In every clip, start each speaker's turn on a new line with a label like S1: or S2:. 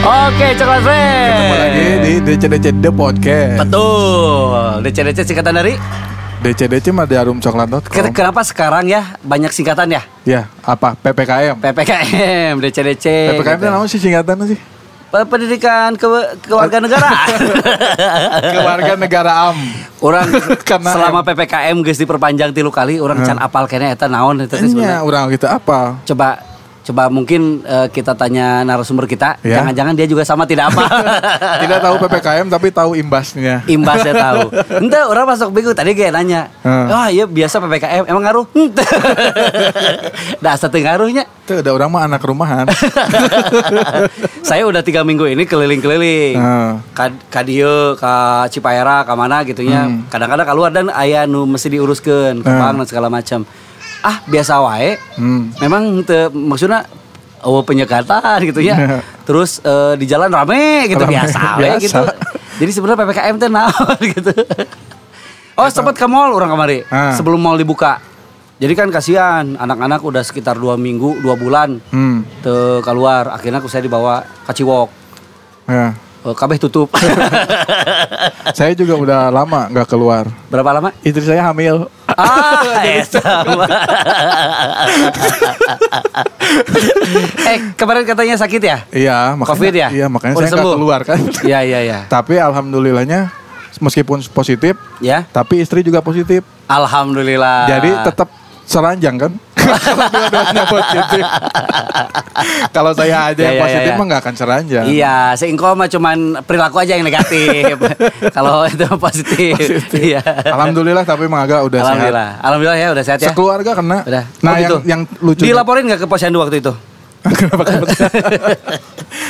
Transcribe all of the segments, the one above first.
S1: Oke, coklat friend.
S2: Ketemu lagi di DCDC The Podcast.
S1: Betul. DC-DC singkatan dari
S2: DCDC Madiarum Coklat.com.
S1: Ken- Kenapa sekarang ya banyak singkatan ya?
S2: Ya, apa? PPKM.
S1: PPKM, DC-DC.
S2: PPKM itu namanya sih singkatannya sih.
S1: Pendidikan ke keluarga negara.
S2: Keluarga negara am.
S1: orang
S2: Karena Hmm.
S1: selama PPKM geus diperpanjang tilu kali orang can apal kene eta naon eta teh sebenarnya.
S2: Enya orang kita apa?
S1: Coba coba mungkin eh, kita tanya narasumber kita,
S2: Ya.
S1: jangan-jangan dia juga sama tidak apa.
S2: Tidak tahu PPKM tapi tahu imbasnya.
S1: imbasnya tahu. Ente orang masuk bingung tadi kayak nanya.
S2: Hmm.
S1: Wah, iya biasa PPKM emang ngaruh. Henteu. Dasar teu ngaruhnya.
S2: Itu ada orang mah anak rumahan.
S1: Saya udah tiga minggu ini keliling-keliling.
S2: Hmm.
S1: Ka, ka dieu, ka Cipaera, ka mana gitunya.
S2: Hmm.
S1: Kadang-kadang keluar dan aya nu mesti diuruskeun, kepang dan segala macam. Ah, biasa wae.
S2: Hmm.
S1: Memang henteu, maksudnya oh penyekatan gitu ya. Terus eh, di jalan rame gitu
S2: Nah. Rame,
S1: biasa we
S2: biasa.
S1: gitu. Jadi sebenarnya PPKM teh naon gitu. Oh, sempat ke mall orang kemari
S2: Ah.
S1: sebelum mall dibuka. Jadi kan kasihan anak-anak udah sekitar dua minggu, dua bulan
S2: Hmm.
S1: teu keluar. Akhirnya aku saya dibawa ke Ciwok.
S2: Ya.
S1: Eh, Kabeh tutup.
S2: Saya juga udah lama nggak keluar.
S1: Berapa lama?
S2: Istri saya hamil.
S1: Ah, eh,
S2: gitu.
S1: sama. eh, kemarin katanya sakit ya?
S2: Iya, makanya.
S1: Covid ya?
S2: Iya, makanya
S1: Udah
S2: saya nggak
S1: sembuh?
S2: keluar kan.
S1: Iya, iya, iya.
S2: tapi alhamdulillahnya meskipun positif,
S1: Ya.
S2: tapi istri juga positif.
S1: Alhamdulillah.
S2: Jadi tetap seranjang kan? Kalau dua-duanya positif. Kalau saya aja
S1: Ya,
S2: yang
S1: ya,
S2: positif
S1: ya, ya.
S2: mah nggak akan seranjang.
S1: Iya, seingko mah cuman perilaku aja yang negatif. Kalau itu positif. Iya.
S2: Alhamdulillah tapi mah agak udah sehat.
S1: Alhamdulillah. Alhamdulillah ya udah sehat ya.
S2: Sekeluarga kena.
S1: Udah.
S2: Nah,
S1: Oh,
S2: yang
S1: gitu.
S2: yang lucu.
S1: Dilaporin nggak ke posyandu waktu itu?
S2: Kenapa kena?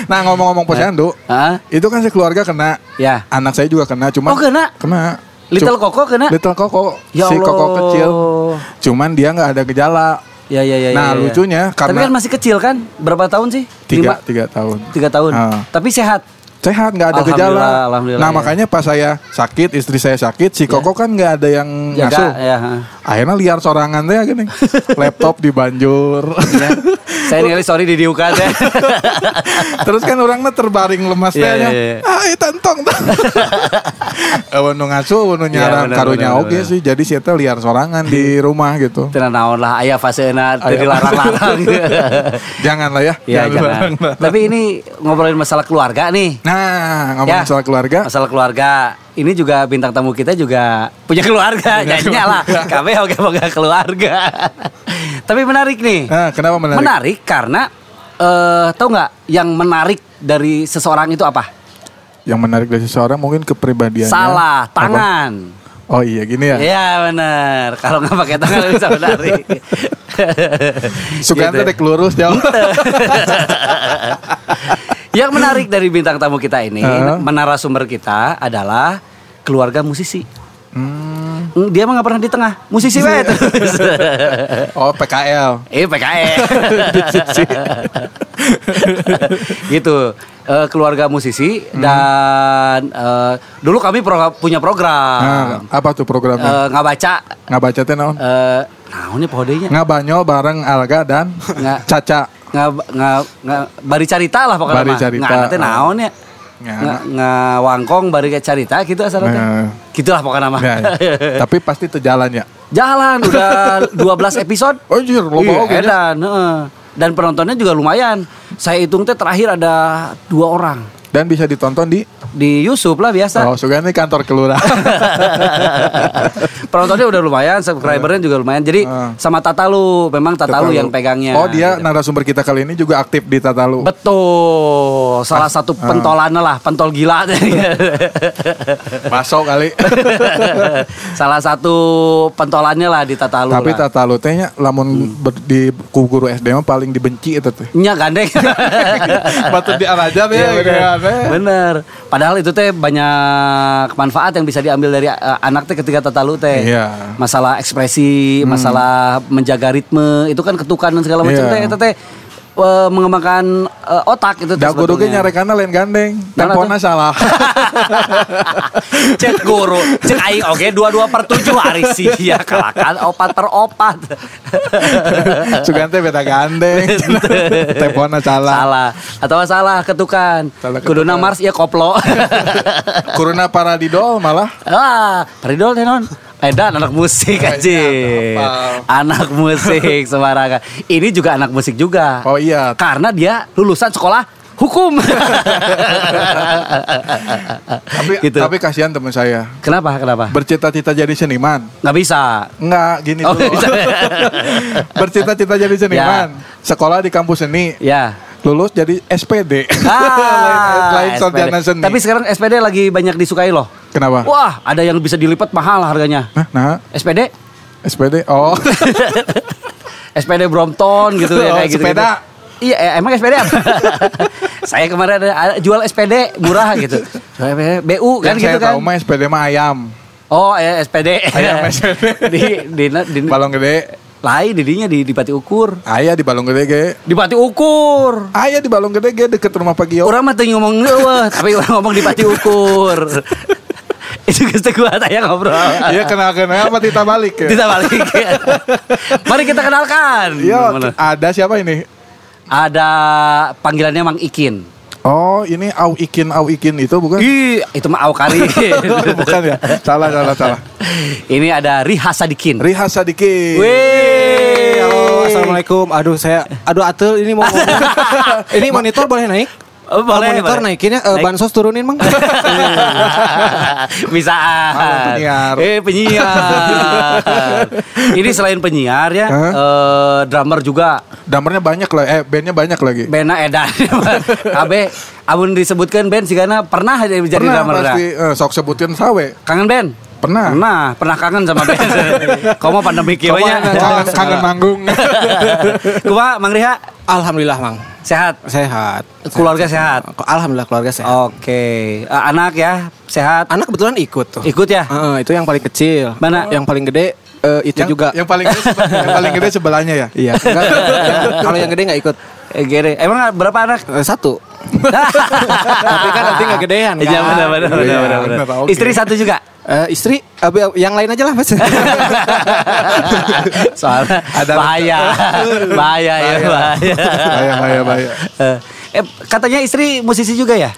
S2: nah, ngomong-ngomong posyandu,
S1: Hah?
S2: itu kan sekeluarga kena.
S1: Ya.
S2: Anak saya juga kena, cuman
S1: Oh, kena?
S2: Kena.
S1: Little
S2: Cuk-
S1: Koko kena?
S2: Little Koko,
S1: Ya
S2: si
S1: Allah.
S2: Koko kecil. Cuman dia nggak ada gejala.
S1: Ya ya ya. ya, ya,
S2: Nah,
S1: ya.
S2: lucunya
S1: Tapi
S2: karena-
S1: kan masih kecil kan? Berapa tahun sih?
S2: Tiga,
S1: Lima-
S2: tiga tahun.
S1: tiga tahun.
S2: Ah.
S1: Tapi sehat.
S2: Sehat nggak ada
S1: Alhamdulillah,
S2: gejala.
S1: alhamdulillah,
S2: nah
S1: ya.
S2: makanya pas saya sakit, istri saya sakit, si Koko kan nggak ada yang
S1: Jaga,
S2: ngasuh.
S1: ya, ha.
S2: Akhirnya liar sorangan deh gini. Laptop dibanjur.
S1: Ya. Saya nilai sorry di diukan ya.
S2: Terus kan orangnya terbaring lemas
S1: Iya,
S2: teh. nya.
S1: iya, iya.
S2: Ah, itu entong. Eueun Eh, nu ngasuh,
S1: Ya,
S2: eueun nu nyarang
S1: bener,
S2: karunya
S1: bener,
S2: oke
S1: bener.
S2: sih. Jadi si eta liar sorangan di rumah gitu.
S1: Tenang naon lah, ayah fase na
S2: Aya.
S1: dilarang-larang.
S2: Janganlah ya.
S1: ya jangan.
S2: dilarang-larang.
S1: Tapi ini ngobrolin masalah keluarga nih.
S2: Nah,
S1: Ya.
S2: ngomongin soal keluarga.
S1: Masalah keluarga. Ini juga bintang tamu kita juga punya keluarga. Nyanyinya lah. Kami oke oke keluarga. Tapi menarik nih.
S2: Nah, kenapa menarik?
S1: Menarik, karena eh tahu nggak yang menarik dari seseorang itu apa?
S2: Yang menarik dari seseorang mungkin kepribadiannya.
S1: Salah
S2: Iya, Apa?
S1: tangan.
S2: Oh iya gini ya.
S1: Iya benar. Kalau nggak pakai tangan nggak bisa menarik. Gitu.
S2: Suganta
S1: Iya.
S2: dek lurus ya. jauh.
S1: Yang menarik dari bintang tamu kita ini,
S2: Heeh.
S1: menara sumber kita adalah keluarga musisi.
S2: Hmm.
S1: Hmm, Dia mah nggak pernah di tengah, musisi wae terus.
S2: Oh PKL.
S1: eh PKS. gitu. Eh, keluarga musisi dan eh, dulu kami pro- punya
S2: Nah,
S1: program
S2: apa tuh programnya?
S1: Ah. Eh, nggak baca
S2: nggak baca teh naon?
S1: eh naonnya podenya
S2: Nggak banyol bareng Alga dan
S1: Nggak.
S2: Caca.
S1: nggak nggak nggak bari carita lah pokoknya
S2: Bari
S1: mah.
S2: carita. ah.
S1: nggak nanti naon ya
S2: Nggak.
S1: nggak nggak wangkong bari ke carita gitu asal teh
S2: Nah.
S1: gitulah pokoknya mah
S2: Ya, ya. Tapi pasti itu jalan ya.
S1: jalan udah 12 episode
S2: Oh jujur,
S1: Iya,
S2: lo bawa gini.
S1: edan, heeh. dan penontonnya juga lumayan saya hitung teh terakhir ada dua orang
S2: Dan bisa ditonton di
S1: di Yusuf lah biasa
S2: Oh Suganda ini kantor kelurahan.
S1: penontonnya udah lumayan subscribernya juga lumayan jadi
S2: Heeh.
S1: sama Tatalu memang Tatalu yang pegangnya
S2: Ah. Oh dia narasumber kita kali ini juga aktif di Tatalu.
S1: Betul, salah
S2: Ah.
S1: satu pentolannya lah, pentol gila.
S2: Masuk kali.
S1: salah satu pentolannya lah di Tatalu.
S2: Tapi
S1: lah.
S2: Tatalu tehnya
S1: Hmm.
S2: lamun ber- di ku guru SD mah paling dibenci itu teh.
S1: Nya gandeng.
S2: Patut diarajar ya.
S1: Iya,
S2: gitu ya.
S1: Bener. Padahal itu teh banyak manfaat yang bisa diambil dari eh, anak teh ketika Tatalu teh.
S2: Iya. Hmm.
S1: Masalah ekspresi, masalah menjaga ritme, itu kan ketukan dan segala macam
S2: Iya.
S1: teh. Itu teh eh, mengembangkan eh, otak itu teh
S2: Dago doge
S1: sebetulnya.
S2: nyarekana lain gandeng.
S1: Nah,
S2: Tempona salah.
S1: Cet guru, cek aing oge dua-dua per tujuh hari sih ya kalakan opat per opat.
S2: Sugante beda gandeng. Tempona salah.
S1: salah atau salah ketukan.
S2: Salah
S1: Kuduna
S2: ketukan.
S1: Mars ya koplo.
S2: Kuruna paradidol malah.
S1: ah, Peridol teh non. Edan anak musik
S2: Eh,
S1: aja.
S2: iya,
S1: Anak musik sembarangan. Ini juga anak musik juga.
S2: Oh iya.
S1: Karena dia lulusan sekolah hukum.
S2: Tapi
S1: gitu.
S2: tapi kasihan teman saya.
S1: kenapa? Kenapa?
S2: Bercita-cita jadi seniman.
S1: Nggak bisa.
S2: Enggak, gini
S1: Oh,
S2: dulu.
S1: bisa.
S2: Bercita-cita jadi seniman. Sekolah di kampus seni.
S1: Ya.
S2: Lulus jadi SPD.
S1: Ah,
S2: lain lain
S1: SPD.
S2: sarjana seni.
S1: Tapi sekarang SPD lagi banyak disukai loh.
S2: Kenapa?
S1: Wah, ada yang bisa dilipat mahal harganya.
S2: Nah, nah,
S1: SPD?
S2: SPD. Oh,
S1: SPD Brompton gitu ya
S2: Oh,
S1: kayak gitu.
S2: sepeda.
S1: Iya, eh, emang SPD apa? Saya kemarin ada, ada jual SPD murah gitu. Jual SPD, BU kan
S2: yang
S1: gitu
S2: saya
S1: kan.
S2: tahu mah SPD mah ayam.
S1: Oh, eh, SPD.
S2: Ayam SPD.
S1: di di, di
S2: Balong gede.
S1: lain didinya di di Pati Ukur.
S2: Ayah di Balong Gede ge.
S1: Di Pati Ukur.
S2: Ayah di Balong Gede ge deket rumah Pak Gio.
S1: Orang mah teu ngomong eueuh, tapi orang ngomong di Pati Ukur. Itu geus teu kuat aya ngobrol.
S2: Iya kenal kenal apa Tita balik ya?
S1: Kita balik. Mari kita kenalkan.
S2: Iya ada siapa ini?
S1: Ada panggilannya Mang Ikin.
S2: Oh ini Au Ikin Au Ikin itu
S3: Iya.
S2: bukan?
S1: Ih, itu mah Aukari.
S2: bukan ya? Salah salah salah.
S1: Ini ada Riha Sadikin.
S2: Riha Sadikin.
S1: Wih.
S3: Halo, assalamualaikum. Aduh, saya, aduh atel ini mau ngomong. ini monitor boleh naik?
S1: Oh, boleh,
S3: monitor
S1: boleh.
S3: naikin ya, eh,
S1: Naik.
S3: bansos turunin mang.
S1: Bisa.
S2: Halo, penyiar.
S1: Eh, penyiar. Ini selain penyiar ya,
S2: Hah?
S1: eh, drummer juga.
S2: Damernya banyak lah, eh bandnya banyak lagi.
S1: Bena Edan. Abe, abun disebutkan band sih karena pernah jadi
S2: Pernah
S1: drummer. dah.
S2: pasti eh, sok sebutin sawe.
S1: Kangen band?
S2: Pernah.
S1: Pernah, pernah kangen sama band. Kamu mah pandemi kieu
S3: Kamu
S1: nya.
S2: Kangen, kangen manggung.
S1: Kumaha Mang Riha?
S3: Alhamdulillah mang,
S1: Sehat.
S3: sehat.
S1: Keluarga sehat.
S3: Alhamdulillah keluarga sehat.
S1: Oke, Eh, anak ya sehat.
S3: Anak kebetulan ikut tuh.
S1: Ikut ya.
S3: Heeh, itu yang paling kecil.
S1: Mana?
S3: Yang paling gede eh, itu
S2: yang,
S3: juga.
S2: Yang paling gede, sebe- yang paling gede sebelahnya ya.
S3: Iya. enggak, Kalau yang gede nggak ikut.
S1: Eh, Gere, emang berapa anak?
S3: Eh, Satu. Tapi kan nanti nggak gedean kan.
S1: Iya benar benar
S2: Iya,
S1: benar benar, benar.
S2: benar, oke.
S1: Istri satu juga.
S3: Eh, istri, eh, yang lain aja lah mas.
S1: Soalnya
S2: Ada-
S1: bahaya. bahaya ya bahaya.
S2: Bahaya, bahaya, bahaya.
S1: Eh, eh, katanya istri musisi juga ya?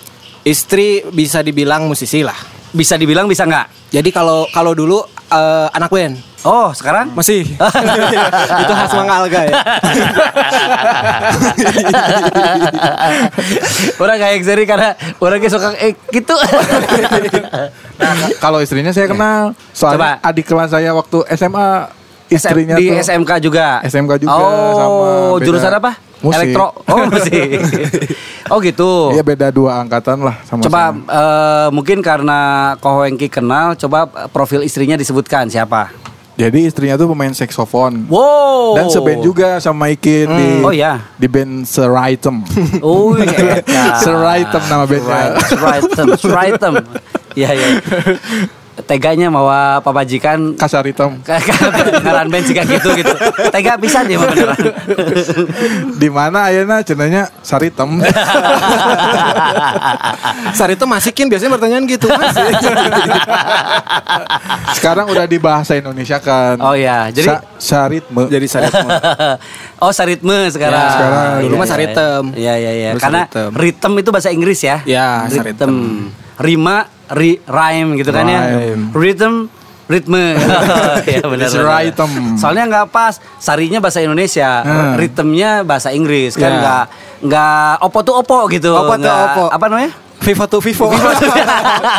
S3: istri bisa dibilang musisi lah.
S1: Bisa dibilang bisa nggak?
S3: Jadi kalau kalau dulu eh, anak band
S1: Oh, sekarang
S3: masih itu khas Mang Alga ya.
S1: orang kayak Xeri karena orang kayak suka eh, gitu.
S2: Nah, kalau istrinya saya
S3: Iya.
S2: kenal. Soalnya
S1: Coba.
S2: adik kelas saya waktu SMA istrinya
S1: di
S2: tuh.
S1: SMK juga.
S2: SMK juga,
S1: Oh,
S2: sama, beda.
S1: jurusan apa?
S2: Musik.
S1: Elektro. Oh, musik. oh gitu.
S2: Iya beda dua angkatan lah sama
S1: coba
S2: saya.
S1: eh, mungkin karena Ko Hengki kenal, coba eh, profil istrinya disebutkan siapa?
S2: Jadi istrinya tuh pemain saksofon.
S1: Wow.
S2: Dan seband juga sama Ikin di
S1: Oh, iya.
S2: di band Seraitem.
S1: Oh,
S2: Seraitem nama bandnya.
S1: Sritem, Sritem. Iya, iya. Teganya mawa pabajikan
S2: Kasaritem.
S1: ngaran band jika gitu gitu. Tega pisan dia mah beneran.
S2: Di mana ayeuna cenanya Saritem.
S1: Ah.
S3: Sari itu masikin biasanya pertanyaan gitu mas.
S2: Sekarang udah di bahasa Indonesia kan.
S1: Oh, iya. Jadi-
S2: Sa Saritme.
S3: Jadi sari itu.
S1: oh saritme sekarang.
S3: Ya,
S2: sekarang.
S3: Dulu mah saritem.
S1: Iya iya iya.
S3: Dulu
S1: Karena
S3: saritem.
S1: ritem itu bahasa Inggris ya.
S3: Ya,
S1: ritem. Rima, ri, rhyme gitu kan ya.
S2: Rhyme.
S1: Rhythm, ritme. ya benar.
S2: It's
S1: benar.
S2: rhythm.
S1: Soalnya nggak pas. Sarinya bahasa Indonesia,
S2: Hmm.
S1: ritemnya bahasa Inggris kan
S3: Ya.
S1: nggak nggak opo tuh opo gitu.
S3: Opo tuh
S1: Nggak-
S3: opo.
S1: Apa namanya?
S3: Vivo to Vivo.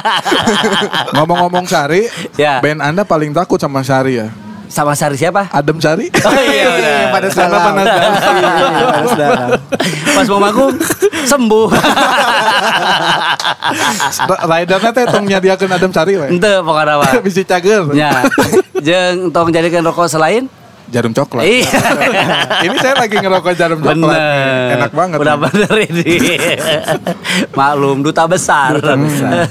S2: Ngomong-ngomong Sari,
S1: Ya.
S2: band Anda paling takut sama Sari ya?
S1: Sama Sari siapa?
S2: Adem Sari?
S1: Oh iya, benar.
S3: Pada
S2: Karena panas dalam.
S3: Pada sedang.
S1: Pas mau manggung sembuh.
S2: Ridernya teh tong nyadiakeun Adem Sari we.
S1: Ente pokoknya apa?
S2: Bisi cager.
S1: Ya, jeng tong jadikan rokok selain.
S2: Jarum coklat.
S1: Iya.
S2: ini saya lagi ngerokok jarum coklat.
S1: Bener.
S2: nih. Enak banget.
S1: Udah
S2: nih.
S1: bener ini. Maklum, duta besar. Duta besar.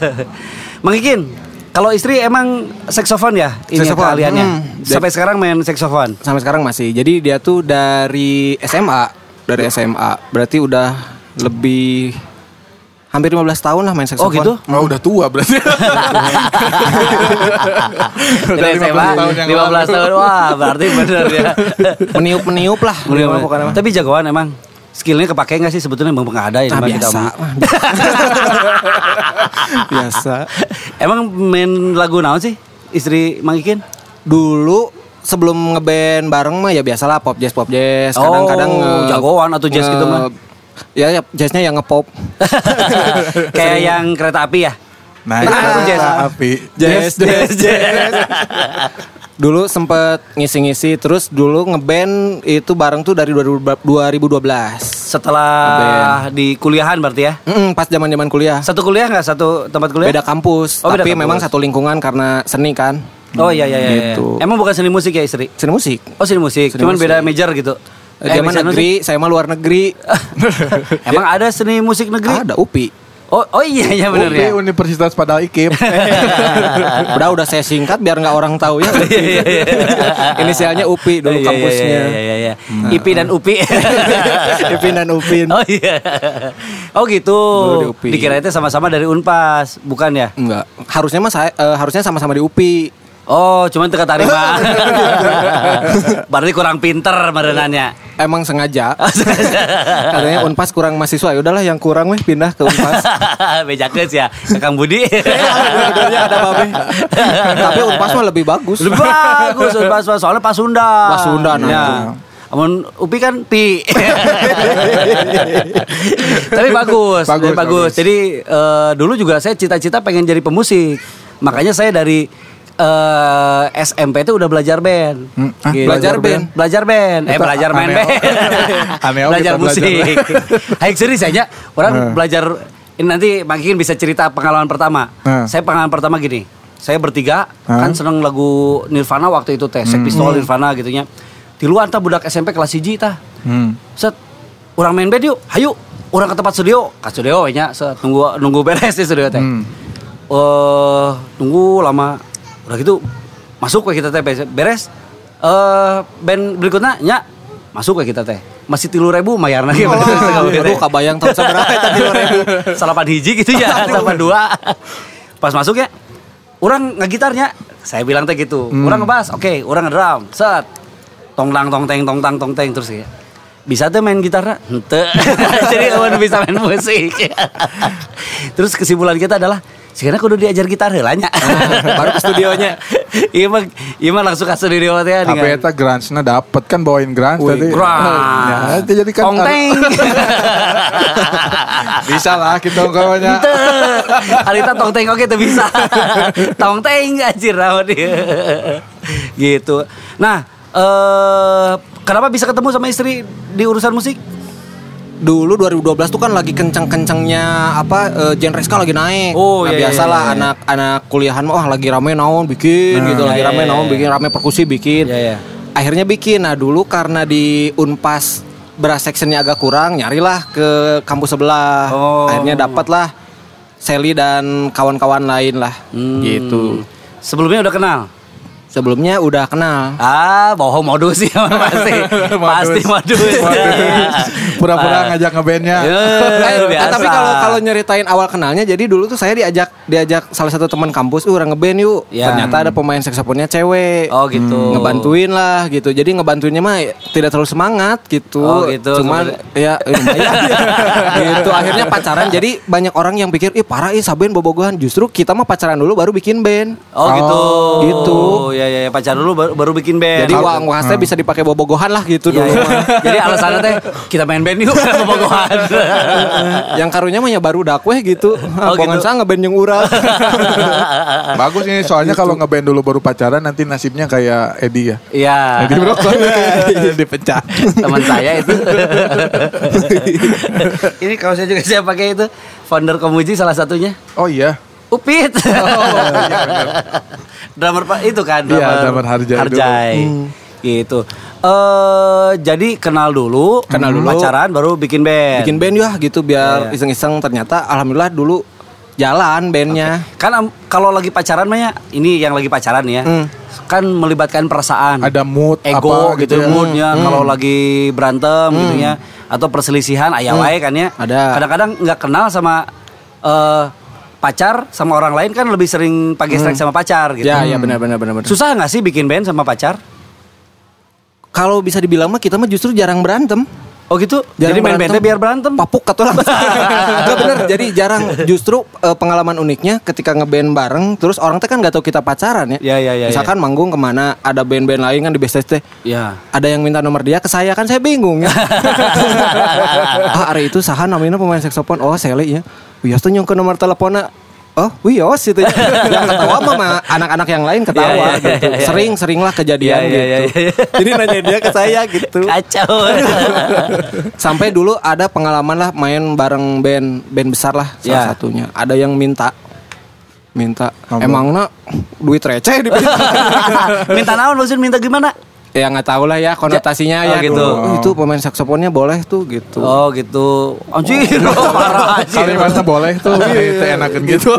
S1: Mang Ikin, kalau istri emang saksofon ya ini
S3: Saksofon,
S1: keahliannya.
S3: hmm.
S1: Sampai sekarang main saksofon.
S3: Sampai sekarang masih. Jadi dia tuh dari SMA. dari SMA. Berarti udah lebih hampir 15 tahun lah main saksofon.
S1: Oh, gitu?
S2: Oh, udah tua berarti. Udah
S1: Dari
S2: 15
S1: SMA
S2: tahun yang
S1: 15
S2: lalu.
S1: tahun. Wah, berarti bener ya.
S3: Meniup-meniup lah.
S1: Bener-bener.
S3: Meniup pokoknya mah.
S1: Tapi jagoan emang. Skillnya kepake nggak sih sebetulnya emang nggak ada ya
S3: Ah,
S1: emang
S3: biasa.
S1: kita-
S3: mah. biasa.
S1: Emang main lagu naon sih istri Mang Ikin?
S3: Dulu sebelum ngeband bareng mah ya biasalah pop jazz pop jazz.
S1: Oh,
S3: Kadang-kadang nge-
S1: jagoan atau jazz
S3: nge-
S1: gitu mah.
S3: Ya, ya jazznya yang ngepop.
S1: Kayak yang kereta api ya?
S2: Nah,
S1: Nah,
S2: itu
S1: jazz.
S2: Tapi
S3: Jazz, jazz, jazz. Dulu sempet ngisi-ngisi terus dulu ngeband itu bareng tuh dari 2012.
S1: Setelah di kuliahan berarti ya?
S3: Mm, pas zaman-zaman kuliah.
S1: Satu kuliah nggak? Satu tempat kuliah?
S3: Beda kampus,
S1: Oh, beda
S3: tapi
S1: kampus.
S3: memang satu lingkungan karena seni kan.
S1: Oh iya iya iya. iya.
S3: Gitu.
S1: Emang bukan seni musik ya istri?
S3: Seni musik.
S1: Oh seni musik,
S3: Seni
S1: cuman
S3: musik.
S1: beda major gitu.
S3: Eh, Dia mah
S1: major
S3: negeri, saya mah luar negeri.
S1: musik. Emang ada seni musik negeri?
S3: Ada UPI.
S1: Oh oh iya iya bener
S2: UPI,
S1: ya.
S2: Universitas Padang Ikip. Eh,
S3: udah udah saya singkat biar nggak orang tahu ya.
S1: Iya, iya, iya.
S3: Inisialnya UPI dulu
S1: Iya, iya,
S3: kampusnya.
S1: Iya iya iya. Ipi dan Upi.
S3: Ipin dan Upin.
S1: Oh iya. Oh gitu.
S3: Dulu di UPI.
S1: Dikira itu sama-sama dari Unpas, bukan ya?
S3: Enggak, harusnya mah saya eh, harusnya sama-sama di UPI.
S1: Oh, cuman teu ketarima. Berarti kurang pinter merenannya.
S3: Emang sengaja.
S1: Oh,
S3: Katanya Unpas kurang mahasiswa. Ya udahlah yang kurang weh pindah ke Unpas.
S1: Bejakes ya, ke Kang Budi.
S3: Bener-benernya Iya, ada babe. Tapi Unpas mah lebih bagus.
S1: Lebih bagus Unpas Pas- soalnya Pasundan.
S3: Pasundan,
S1: Ya.
S3: anjing.
S1: Amun Upi kan pi. Tapi bagus,
S2: Bagus,
S1: jadi bagus.
S2: bagus.
S1: Jadi eh, dulu juga saya cita-cita pengen jadi pemusik. Makanya saya dari eh, SMP itu udah belajar band. Gitu.
S2: Hmm, ah,
S3: belajar band?
S1: Belajar band. Eh
S2: Itu
S1: belajar main
S2: aneo.
S1: band.
S2: Aneo
S1: belajar
S2: kita belajar.
S1: musik. Hayek serius aja. Orang belajar ini nanti makin bisa cerita pengalaman pertama.
S2: Hmm.
S1: Saya pengalaman pertama gini. Saya bertiga
S2: Hmm.
S1: kan seneng lagu Nirvana waktu itu teh, Sex Pistol Nirvana gitunya. Di luar tah budak SMP kelas 1 tah.
S2: Hmm.
S1: Set orang main band yuk, hayu. Orang ke tempat studio, ke studio we nya set nunggu nunggu beres di studio teh. Eh
S2: Hmm.
S1: nunggu lama. Udah gitu masuk we kita teh beres. Eh band berikutnya nya masuk we kita teh. Masih tilu ribu mayar
S3: Oh,
S1: lagi.
S3: Aduh kabayang tahun seberapa tadi orang.
S1: Salapan hiji gitu ya, salapan dua. Pas masuk ya, orang ngegitarnya, saya bilang teh gitu.
S2: Hmm.
S1: Orang ngebas, oke, orang ngedrum, set. Tonglang tongteng tongtang tongteng terus ya. Bisa tuh main gitar Henteu. Jadi awan bisa main musik. terus kesimpulan kita adalah sekarang kudu diajar gitar heula nya.
S2: Ah.
S3: Baru ke studionya.
S1: Iya mah ieu mah langsung ke studio teh
S2: Tapi
S1: dengan-
S2: eta grunge-na dapet kan bawain grunge
S3: Wih,
S2: tadi.
S1: Grunge.
S2: Ya, itu jadi kan Ah,
S1: Tongteng.
S2: bisa lah kita ungkapannya.
S1: Ente. Arita tong teng oke tuh bisa. tong teng anjir naon ieu. Gitu. Nah, eh kenapa bisa ketemu sama istri di urusan musik?
S3: Dulu 2012 tuh kan lagi kenceng-kencengnya apa eh, genre ska lagi naik.
S1: Oh, iya,
S3: nah,
S1: iya,
S3: biasalah
S1: iya, iya.
S3: anak-anak kuliahan mah wah lagi rame naon bikin
S2: Nah.
S3: gitu, lagi
S1: Iya,
S3: rame
S1: iya,
S3: naon
S1: iya.
S3: bikin, rame perkusi bikin.
S1: Iya, iya.
S3: Akhirnya bikin. Nah, dulu karena di Unpas brass sectionnya agak kurang, nyarilah ke kampus sebelah.
S1: Oh.
S3: Akhirnya dapatlah Sally dan kawan-kawan lain lah.
S1: Hmm.
S3: Gitu.
S1: Sebelumnya udah kenal.
S3: Sebelumnya udah kenal.
S1: Ah, bohong modus sih pasti. pasti modus.
S2: Pura-pura ngajak ngebandnya.
S1: Eh,
S3: Eh,
S1: biasa.
S3: tapi kalau kalau nyeritain awal kenalnya jadi dulu tuh saya diajak diajak salah satu teman kampus "Uh, orang ngeband yuk
S1: Ya.
S3: ternyata ada pemain saksofonnya cewek
S1: Oh, gitu.
S3: Hmm, ngebantuin lah gitu jadi ngebantuinnya mah tidak terlalu semangat gitu
S1: Oh, gitu.
S3: cuman ya eh, lumayan gitu akhirnya pacaran jadi banyak orang yang pikir ih parah ih saben bobogohan justru kita mah pacaran dulu baru bikin band
S1: Oh gitu.
S3: gitu.
S1: Ya ya ya pacar dulu baru, baru bikin band.
S3: Oh, jadi uang uangnya bisa dipakai bobogohan lah gitu
S1: Hmm. Iya,
S3: dulu
S1: iya.
S3: mah.
S1: Jadi alasannya teh kita main band yuk kenapa bogohan.
S3: yang karunya mah ya baru dakweh gitu
S1: Oh,
S3: oh,
S1: gitu.
S3: gitu. ngeband yang urang
S2: Bagus ini soalnya kalau ngeband dulu baru pacaran nanti nasibnya kayak Edi ya.
S1: Iya.
S2: Edi Brokon dipecat.
S1: teman saya itu ini kalau saya juga saya pakai itu founder Komuji salah satunya
S2: Oh iya.
S1: Upit iya, drummer pak itu kan
S2: Iya, drummer Harjai Hmm. dulu.
S1: gitu eh jadi kenal dulu
S3: Kenal dulu.
S1: pacaran baru bikin band Iya.
S3: bikin band ya gitu biar iseng-iseng ternyata alhamdulillah dulu Jalan bandnya.
S1: Kan am- kalau lagi pacaran mah ya, ini yang lagi pacaran ya.
S3: Hmm.
S1: Kan melibatkan perasaan.
S2: Ada mood
S1: ego
S2: apa
S1: gitu,
S2: gitu ya.
S1: moodnya
S3: Hmm.
S1: kalau lagi berantem gitu ya atau perselisihan ayah wae kan ya.
S3: Hmm. Ada.
S1: Kadang-kadang nggak kenal sama eh, pacar sama orang lain kan lebih sering pakai strike sama pacar gitu.
S3: Hmm. Ya, ya benar benar benar benar.
S1: Susah nggak sih bikin band sama pacar?
S3: Kalau bisa dibilang mah kita mah justru jarang berantem.
S1: Oh gitu.
S3: Jarang
S1: Jadi main
S3: berantem.
S1: bandnya biar berantem.
S3: Papuk atau apa? Enggak bener. Jadi jarang. Justru eh, pengalaman uniknya ketika ngeband bareng, terus orang teh kan nggak tahu kita pacaran ya.
S1: Ya, ya, ya,
S3: Misalkan manggung kemana, ada band-band lain kan di BST teh.
S1: Ya.
S3: Ada yang minta nomor dia ke saya kan saya bingung ya. ah, hari itu Sahan namanya pemain saksofon. Oh, Sele ya. Wios tuh nyongke nomor teleponnya. Oh, Wios itu. yang ketawa mah mah anak-anak yang lain ketawa
S1: Ya, ya, ya,
S3: gitu.
S1: ya, ya.
S3: Sering-seringlah
S1: Ya,
S3: kejadian
S1: ya, ya,
S3: gitu.
S1: ya, ya.
S3: Jadi nanya dia ke saya gitu.
S1: Kacau.
S3: Sampai dulu ada pengalaman lah main bareng band band besar lah
S1: Ya.
S3: salah satunya. Ada yang minta minta
S2: Nomor.
S3: emangnya duit receh di
S1: minta naon maksudnya minta gimana?
S3: ya nggak tahu lah ya konotasinya
S1: Oh,
S3: ya
S1: gitu.
S3: dulu. "Oh, itu pemain saksofonnya boleh tuh gitu
S1: Oh gitu. Anjir, parah anjir.
S2: Kalimatnya boleh tuh, itu enakan gitu.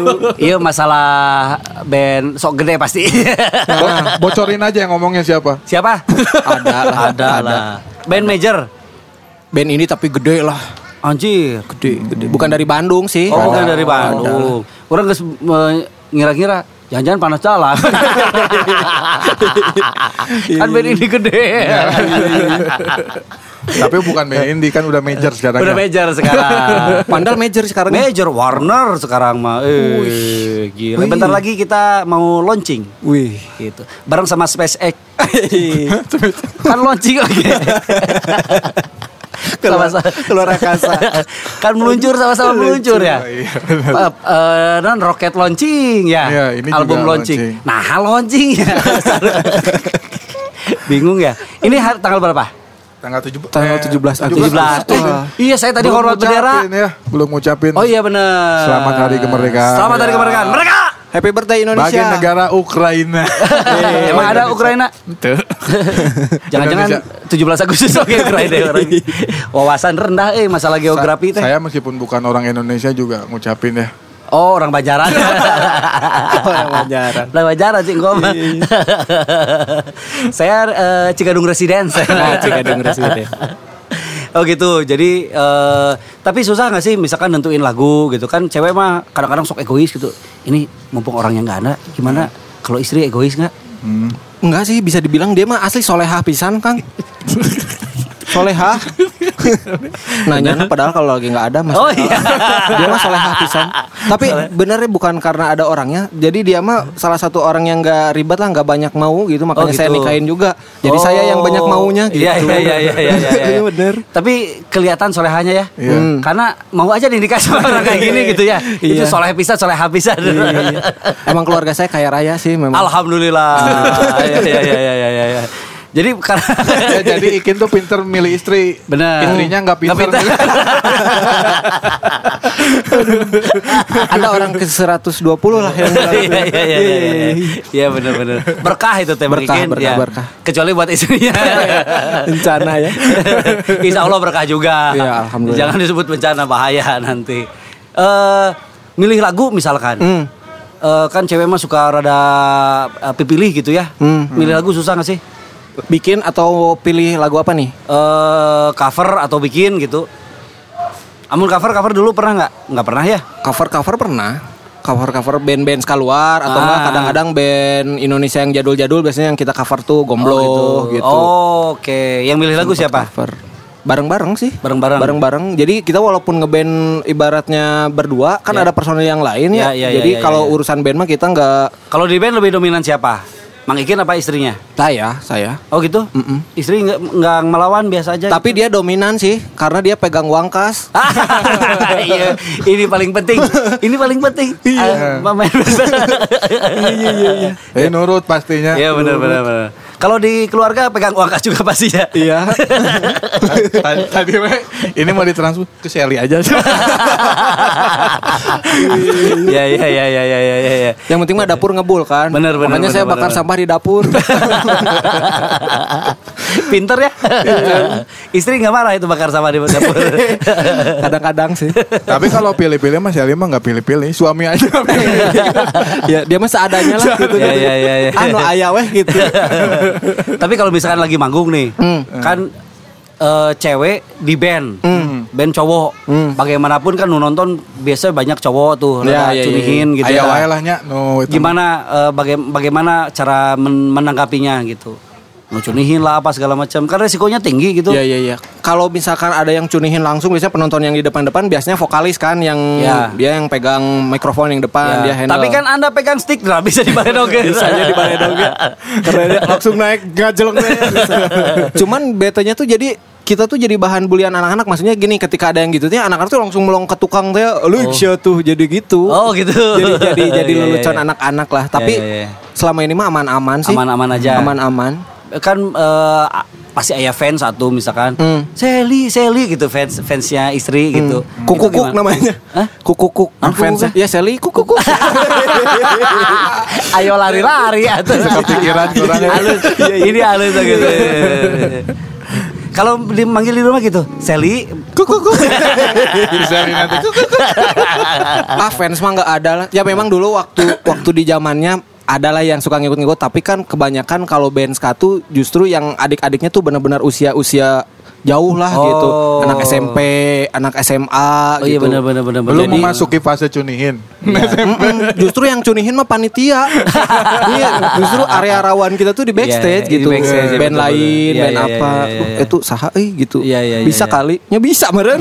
S1: Iya masalah band sok gede pasti.
S2: Bo- Bocorin aja yang ngomongnya siapa.
S1: Siapa?
S3: ada lah
S1: ada lah. Band major.
S3: band ini tapi gede lah
S1: Anjir.
S3: gede gede bukan dari Bandung sih
S1: Oh, bukan
S3: Ada.
S1: dari Bandung. Orang geus eh, ngira-ngira jangan-jangan panas jalan. kan band ini gede. iya.
S2: Tapi bukan main indie kan udah major sekarang.
S1: Udah
S2: ya.
S1: major sekarang.
S3: Pandal major sekarang
S1: Major Warner sekarang mah. Eh, gila.
S3: Wih.
S1: Bentar lagi kita mau launching.
S3: wih
S1: Gitu. Bareng sama SpaceX. kan launching lagi.
S3: Keluar-
S1: Sama-sama.
S3: keluar angkasa.
S1: kan meluncur sama-sama meluncur ya.
S2: Iya,
S1: Eh, eh, non roket launching ya.
S2: Iya, ini
S1: Album
S2: juga
S1: launching.
S2: launching.
S1: Nah, hal launching ya. Bingung ya. Ini har- tanggal berapa?
S2: Tanggal eh, 17
S3: Tanggal 17 Agustus.
S1: 17. Eh, iya, saya tadi hormat bendera.
S2: Ya, belum ngucapin.
S1: Oh iya benar.
S2: Selamat Hari Kemerdekaan.
S1: Selamat hari
S2: Ya.
S1: kemerdekaan. Mereka.
S3: happy
S2: Bagi
S3: birthday Indonesia
S2: negara Ukraina.
S1: Emang ada Ukraina?
S2: Tuh.
S1: Jangan-jangan 17 Agustus oke Ukraina orang. Wawasan rendah eh masalah geografi teh.
S2: Saya meskipun bukan orang Indonesia juga ngucapin ya.
S1: Oh, orang Bajaran.
S3: Orang Banjaran.
S1: Orang Banjaran sih gua mah. Saya eh, Cikadung Residence.
S3: Oh, Cikadung Residence.
S1: Oh gitu, jadi eh, tapi susah nggak sih misalkan nentuin lagu gitu kan cewek mah kadang-kadang sok egois gitu. Ini mumpung orangnya nggak ada, gimana kalau istri egois nggak?
S3: Enggak sih bisa dibilang dia mah asli solehah pisan Kang Solehah Nanya "Nah, padahal kalau lagi nggak ada mas
S1: Oh iya.
S3: Dia mah solehah pisan Tapi benernya bukan karena ada orangnya Jadi dia mah salah satu orang yang nggak ribet lah nggak banyak mau gitu Makanya
S1: Oh, gitu.
S3: saya nikahin juga Jadi
S1: Oh.
S3: saya yang banyak maunya gitu
S1: Iya iya iya iya iya. iya.
S3: Iya, bener
S1: Tapi kelihatan solehanya ya.
S2: Iya.
S1: Hmm. Karena mau aja nih nikah sama orang kayak gini gitu ya. Itu
S3: Iya.
S1: soleh pisan, soleh pisan.
S3: Emang keluarga saya kaya raya sih memang
S1: Alhamdulillah. Iya iya iya iya iya iya. Jadi karena
S2: Ya, jadi Ikin tuh pinter milih istri.
S1: Benar.
S2: Istrinya nggak pinter.
S3: Ada orang ke 120 lah yang bilang.
S1: Iya iya iya iya, iya. Iya benar benar. Berkah itu teh
S3: Berkah,
S1: mungkin,
S3: berkah,
S1: ya.
S3: berkah.
S1: Kecuali buat istrinya.
S3: Bencana ya.
S1: Insya Allah berkah juga.
S3: Iya, alhamdulillah.
S1: Jangan disebut bencana bahaya nanti. Eh milih lagu misalkan.
S3: Hmm.
S1: Eh, kan cewek mah suka rada eh, pipilih gitu ya.
S3: Hmm.
S1: Milih lagu susah gak sih?
S3: Bikin atau pilih lagu apa nih?
S1: Eh cover atau bikin gitu. Amun cover cover dulu pernah nggak? Nggak pernah ya?
S3: cover cover pernah cover cover band-band sekaluar atau enggak
S1: Ah.
S3: kadang-kadang band Indonesia yang jadul-jadul biasanya yang kita cover tuh gomblo gitu,
S1: Oh, Oke, yang milih lagu siapa?
S3: cover bareng-bareng sih
S1: Bareng-bareng.
S3: bareng-bareng jadi kita walaupun ngeband ibaratnya berdua kan ada personil yang lain ya,
S1: Ya, ya, ya, ya,
S3: jadi
S1: ya.
S3: kalau urusan band mah kita nggak
S1: Kalau di band lebih dominan siapa? Mang Ikin apa istrinya?
S3: saya saya
S1: Oh gitu? Istri nggak nggak melawan biasa aja.
S3: tapi dia dominan sih karena dia pegang wangkas
S1: Iya, ini paling penting. Ini paling penting. Iya. Iya iya iya.
S2: Eh nurut pastinya.
S1: Iya benar benar benar. Kalau di keluarga pegang uang kas juga pasti ya.
S3: iya
S2: Tadi- Tadi we, ini mau ditransfer ke Shelly aja.
S1: Iya iya iya iya iya iya iya.
S3: yang penting mah dapur ngebul kan
S1: Bener, bener,
S3: makanya saya
S1: bener,
S3: bakar
S1: bener.
S3: sampah di dapur
S1: Pinter ya. Istri nggak marah itu bakar sama di dapur.
S3: Kadang-kadang sih.
S2: Tapi kalau pilih-pilih Mas Shelly mah nggak pilih-pilih, suami aja.
S1: Iya.
S3: ya dia mah seadanya lah gitu.
S1: Ya, ya, ya, ya.
S3: Anu aya weh gitu.
S1: Tapi kalau misalkan lagi manggung nih,
S3: Hmm.
S1: kan eh, cewek di band,
S3: Hmm.
S1: band cowok. Bagaimanapun kan nu nonton biasanya banyak cowok tuh,
S3: Ya,
S1: rada
S3: ya, ya, ya.
S1: cunihin gitu.
S2: Ayo
S1: ya.
S2: wae lah nya. No, itu.
S3: gitu.
S1: Gimana eh, baga- bagaimana cara men- menanggapinya gitu? Mau cunihin lah apa segala macam. Karena risikonya tinggi gitu.
S3: Ya ya ya. Kalau misalkan ada yang cunihin langsung biasanya penonton yang di depan-depan biasanya vokalis kan yang
S1: Ya.
S3: dia yang pegang mikrofon yang depan dia
S1: Ya.
S3: handle.
S1: Tapi kan Anda pegang stick drum bisa dibaredoge. bisa aja dibaredoge.
S2: Keren ya, langsung naik gajeleng
S3: Cuman betanya tuh jadi kita tuh jadi bahan bulian anak-anak maksudnya gini ketika ada yang gitu tuh anak-anak tuh langsung melong ke tukang tuh ya lu sia tuh jadi gitu.
S1: Oh, gitu.
S3: Jadi jadi jadi
S1: Iya, iya,
S3: lelucon
S1: iya.
S3: anak-anak lah tapi
S1: iya, iya.
S3: selama ini mah aman-aman sih.
S1: Aman-aman aja.
S3: Aman-aman.
S1: kan eh, a- pasti ayah fans satu misalkan
S3: Hmm.
S1: Sally Sally gitu fans fansnya istri gitu Itu
S3: Kukukuk
S1: gimana?
S3: namanya.
S1: Hah?
S3: Kukukuk.
S1: Ah,
S3: Fans.
S1: kukukuk
S3: Ya Sally kukukuk.
S1: ayo lari-lari atau
S2: Kepikiran kurang ya.
S1: halus ini halus gitu kalau dimanggil di rumah gitu Sally
S3: Kukukuk.
S2: Bisa nih nanti.
S3: ah fans mah nggak ada lah. Ya memang dulu waktu waktu di zamannya adalah yang suka ngikut-ngikut tapi kan kebanyakan kalau band ska tuh justru yang adik-adiknya tuh benar-benar usia-usia jauh lah gitu.
S1: Oh.
S3: Anak SMP, anak SMA
S1: oh iya
S3: gitu.
S1: benar benar benar
S2: Belum
S1: benar.
S2: memasuki fase cunihin.
S3: Iya. Mm-mm, justru yang cunihin mah panitia. Iya, justru area rawan kita tuh di
S1: Iya,
S3: backstage
S1: iya, di
S3: gitu.
S1: backstage, iya,
S3: band
S1: betul-betul.
S3: lain,
S1: Iya,
S3: band
S1: iya,
S3: apa.
S1: iya, iya, iya.
S3: Itu saha euy gitu.
S1: Iya, iya, iya,
S3: bisa
S1: iya.
S3: kali. Ya bisa meren.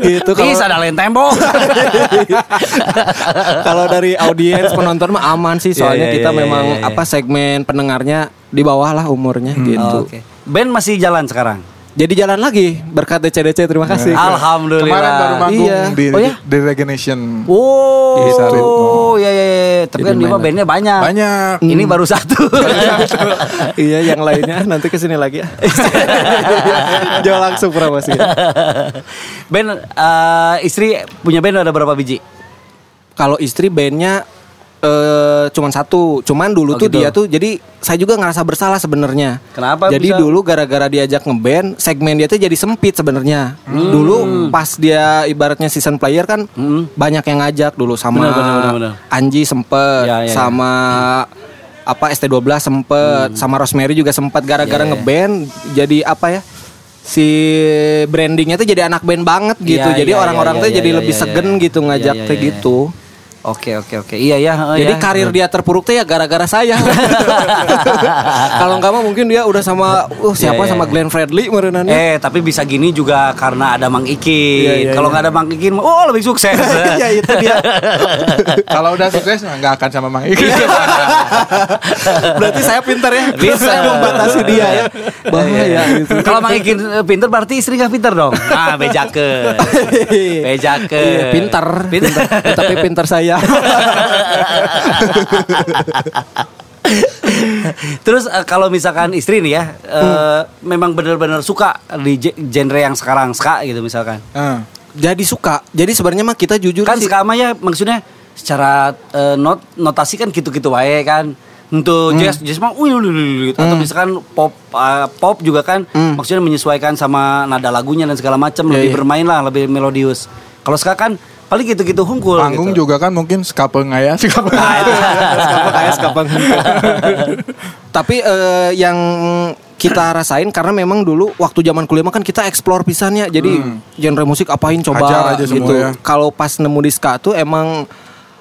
S3: gitu
S1: Ih, sadar lain tembok.
S3: kalau dari audiens penonton mah aman sih soalnya
S1: Iya, iya,
S3: kita
S1: iya,
S3: memang
S1: iya, iya.
S3: apa segmen pendengarnya di bawah lah umurnya gitu.
S1: Oh, Oke. Band masih jalan sekarang.
S3: Jadi jalan lagi berkat DCDC terima kasih.
S1: Alhamdulillah.
S2: Kemarin baru manggung
S3: Iya.
S2: di,
S1: Oh, iya?
S2: di Regeneration.
S1: Oh,
S2: Di Sarip.
S1: iya iya. iya. Tapi
S3: Jadi
S1: kan Bima
S3: main
S1: bandnya banyak.
S2: Banyak.
S1: Ini baru satu.
S3: iya yang lainnya nanti kesini lagi ya. Jauh langsung promosi.
S1: band eh, istri punya band ada berapa biji?
S3: Kalau istri bandnya eh cuman satu, cuman
S1: Oh,
S3: dulu tuh
S1: gitu.
S3: dia tuh jadi saya juga ngerasa bersalah sebenarnya.
S1: Kenapa
S3: Jadi
S1: bisa?
S3: dulu gara-gara diajak ngeband, segmen dia tuh jadi sempit sebenarnya. Dulu pas dia ibaratnya season player kan
S1: Hmm.
S3: banyak yang ngajak dulu sama
S1: Benar, benar, benar, benar.
S3: Anji sempet,
S1: Ya, ya, ya.
S3: sama apa ST12 sempet, sama Rosemary juga sempet
S1: Hmm. Ya,
S3: gara-gara
S1: ya.
S3: ngeband jadi apa ya? si brandingnya tuh jadi anak band banget gitu.
S1: Ya,
S3: jadi
S1: ya, ya,
S3: orang-orang
S1: ya,
S3: tuh
S1: ya,
S3: jadi
S1: ya,
S3: lebih
S1: ya,
S3: segen
S1: ya.
S3: gitu ngajak
S1: Ya, ya, ya,
S3: tuh
S1: ya.
S3: gitu.
S1: Oke oke oke. Iya ya. oh, ya.
S3: Jadi karir dia terpuruk tuh ya gara-gara saya. Kalau nggak mah mungkin dia udah sama uh,
S1: Iya,
S3: siapa
S1: iya,
S3: sama
S1: iya.
S3: Glenn Fredly ya. merenannya.
S1: Eh tapi bisa gini juga karena ada Mang Ikin.
S3: Iya, iya,
S1: Kalau
S3: iya.
S1: nggak ada Mang Ikin, oh lebih sukses.
S3: ya itu dia.
S2: Kalau udah sukses nggak akan sama Mang Iki.
S1: Iya.
S3: Berarti saya pintar ya. Terus
S1: Bisa. Iya,
S3: saya membatasi dia ya. Bahaya gitu.
S1: Kalau Mang Ikin eh, pinter berarti istri nggak pinter dong. Ah bejake, bejake.
S3: Iya, pintar.
S1: pinter.
S3: pintar. Tapi pintar saya.
S1: Terus eh, kalau misalkan istri nih ya, eh,
S3: Hmm.
S1: memang benar-benar suka di je- genre yang sekarang ska gitu misalkan.
S2: Ah.
S3: Jadi suka. Jadi sebenarnya mah kita jujur
S1: Kan
S3: sih.
S1: ska mah ya maksudnya secara eh, not notasi kan gitu-gitu wae kan.
S3: Hmm.
S1: Untuk jazz jazz mah uy, uy, uy, uy, uy. atau misalkan pop eh, pop juga kan maksudnya menyesuaikan sama nada lagunya dan segala macam
S3: Hmm. Iya,
S1: lebih
S3: iya.
S1: bermain lah, lebih melodius. Kalau ska kan paling gitu-gitu hungkul gitu.
S2: Panggung
S1: Nah, iya,
S2: juga kan mungkin skapeng ya, skapeng.
S3: Skapeng kayak skapeng. Tapi eh, yang kita rasain karena memang dulu waktu zaman kuliah mah kan kita explore pisannya. Jadi genre musik apain coba
S2: Hmm. Hajar aja
S3: gitu.
S2: semua ya.
S3: Kalau pas nemu di ska tuh emang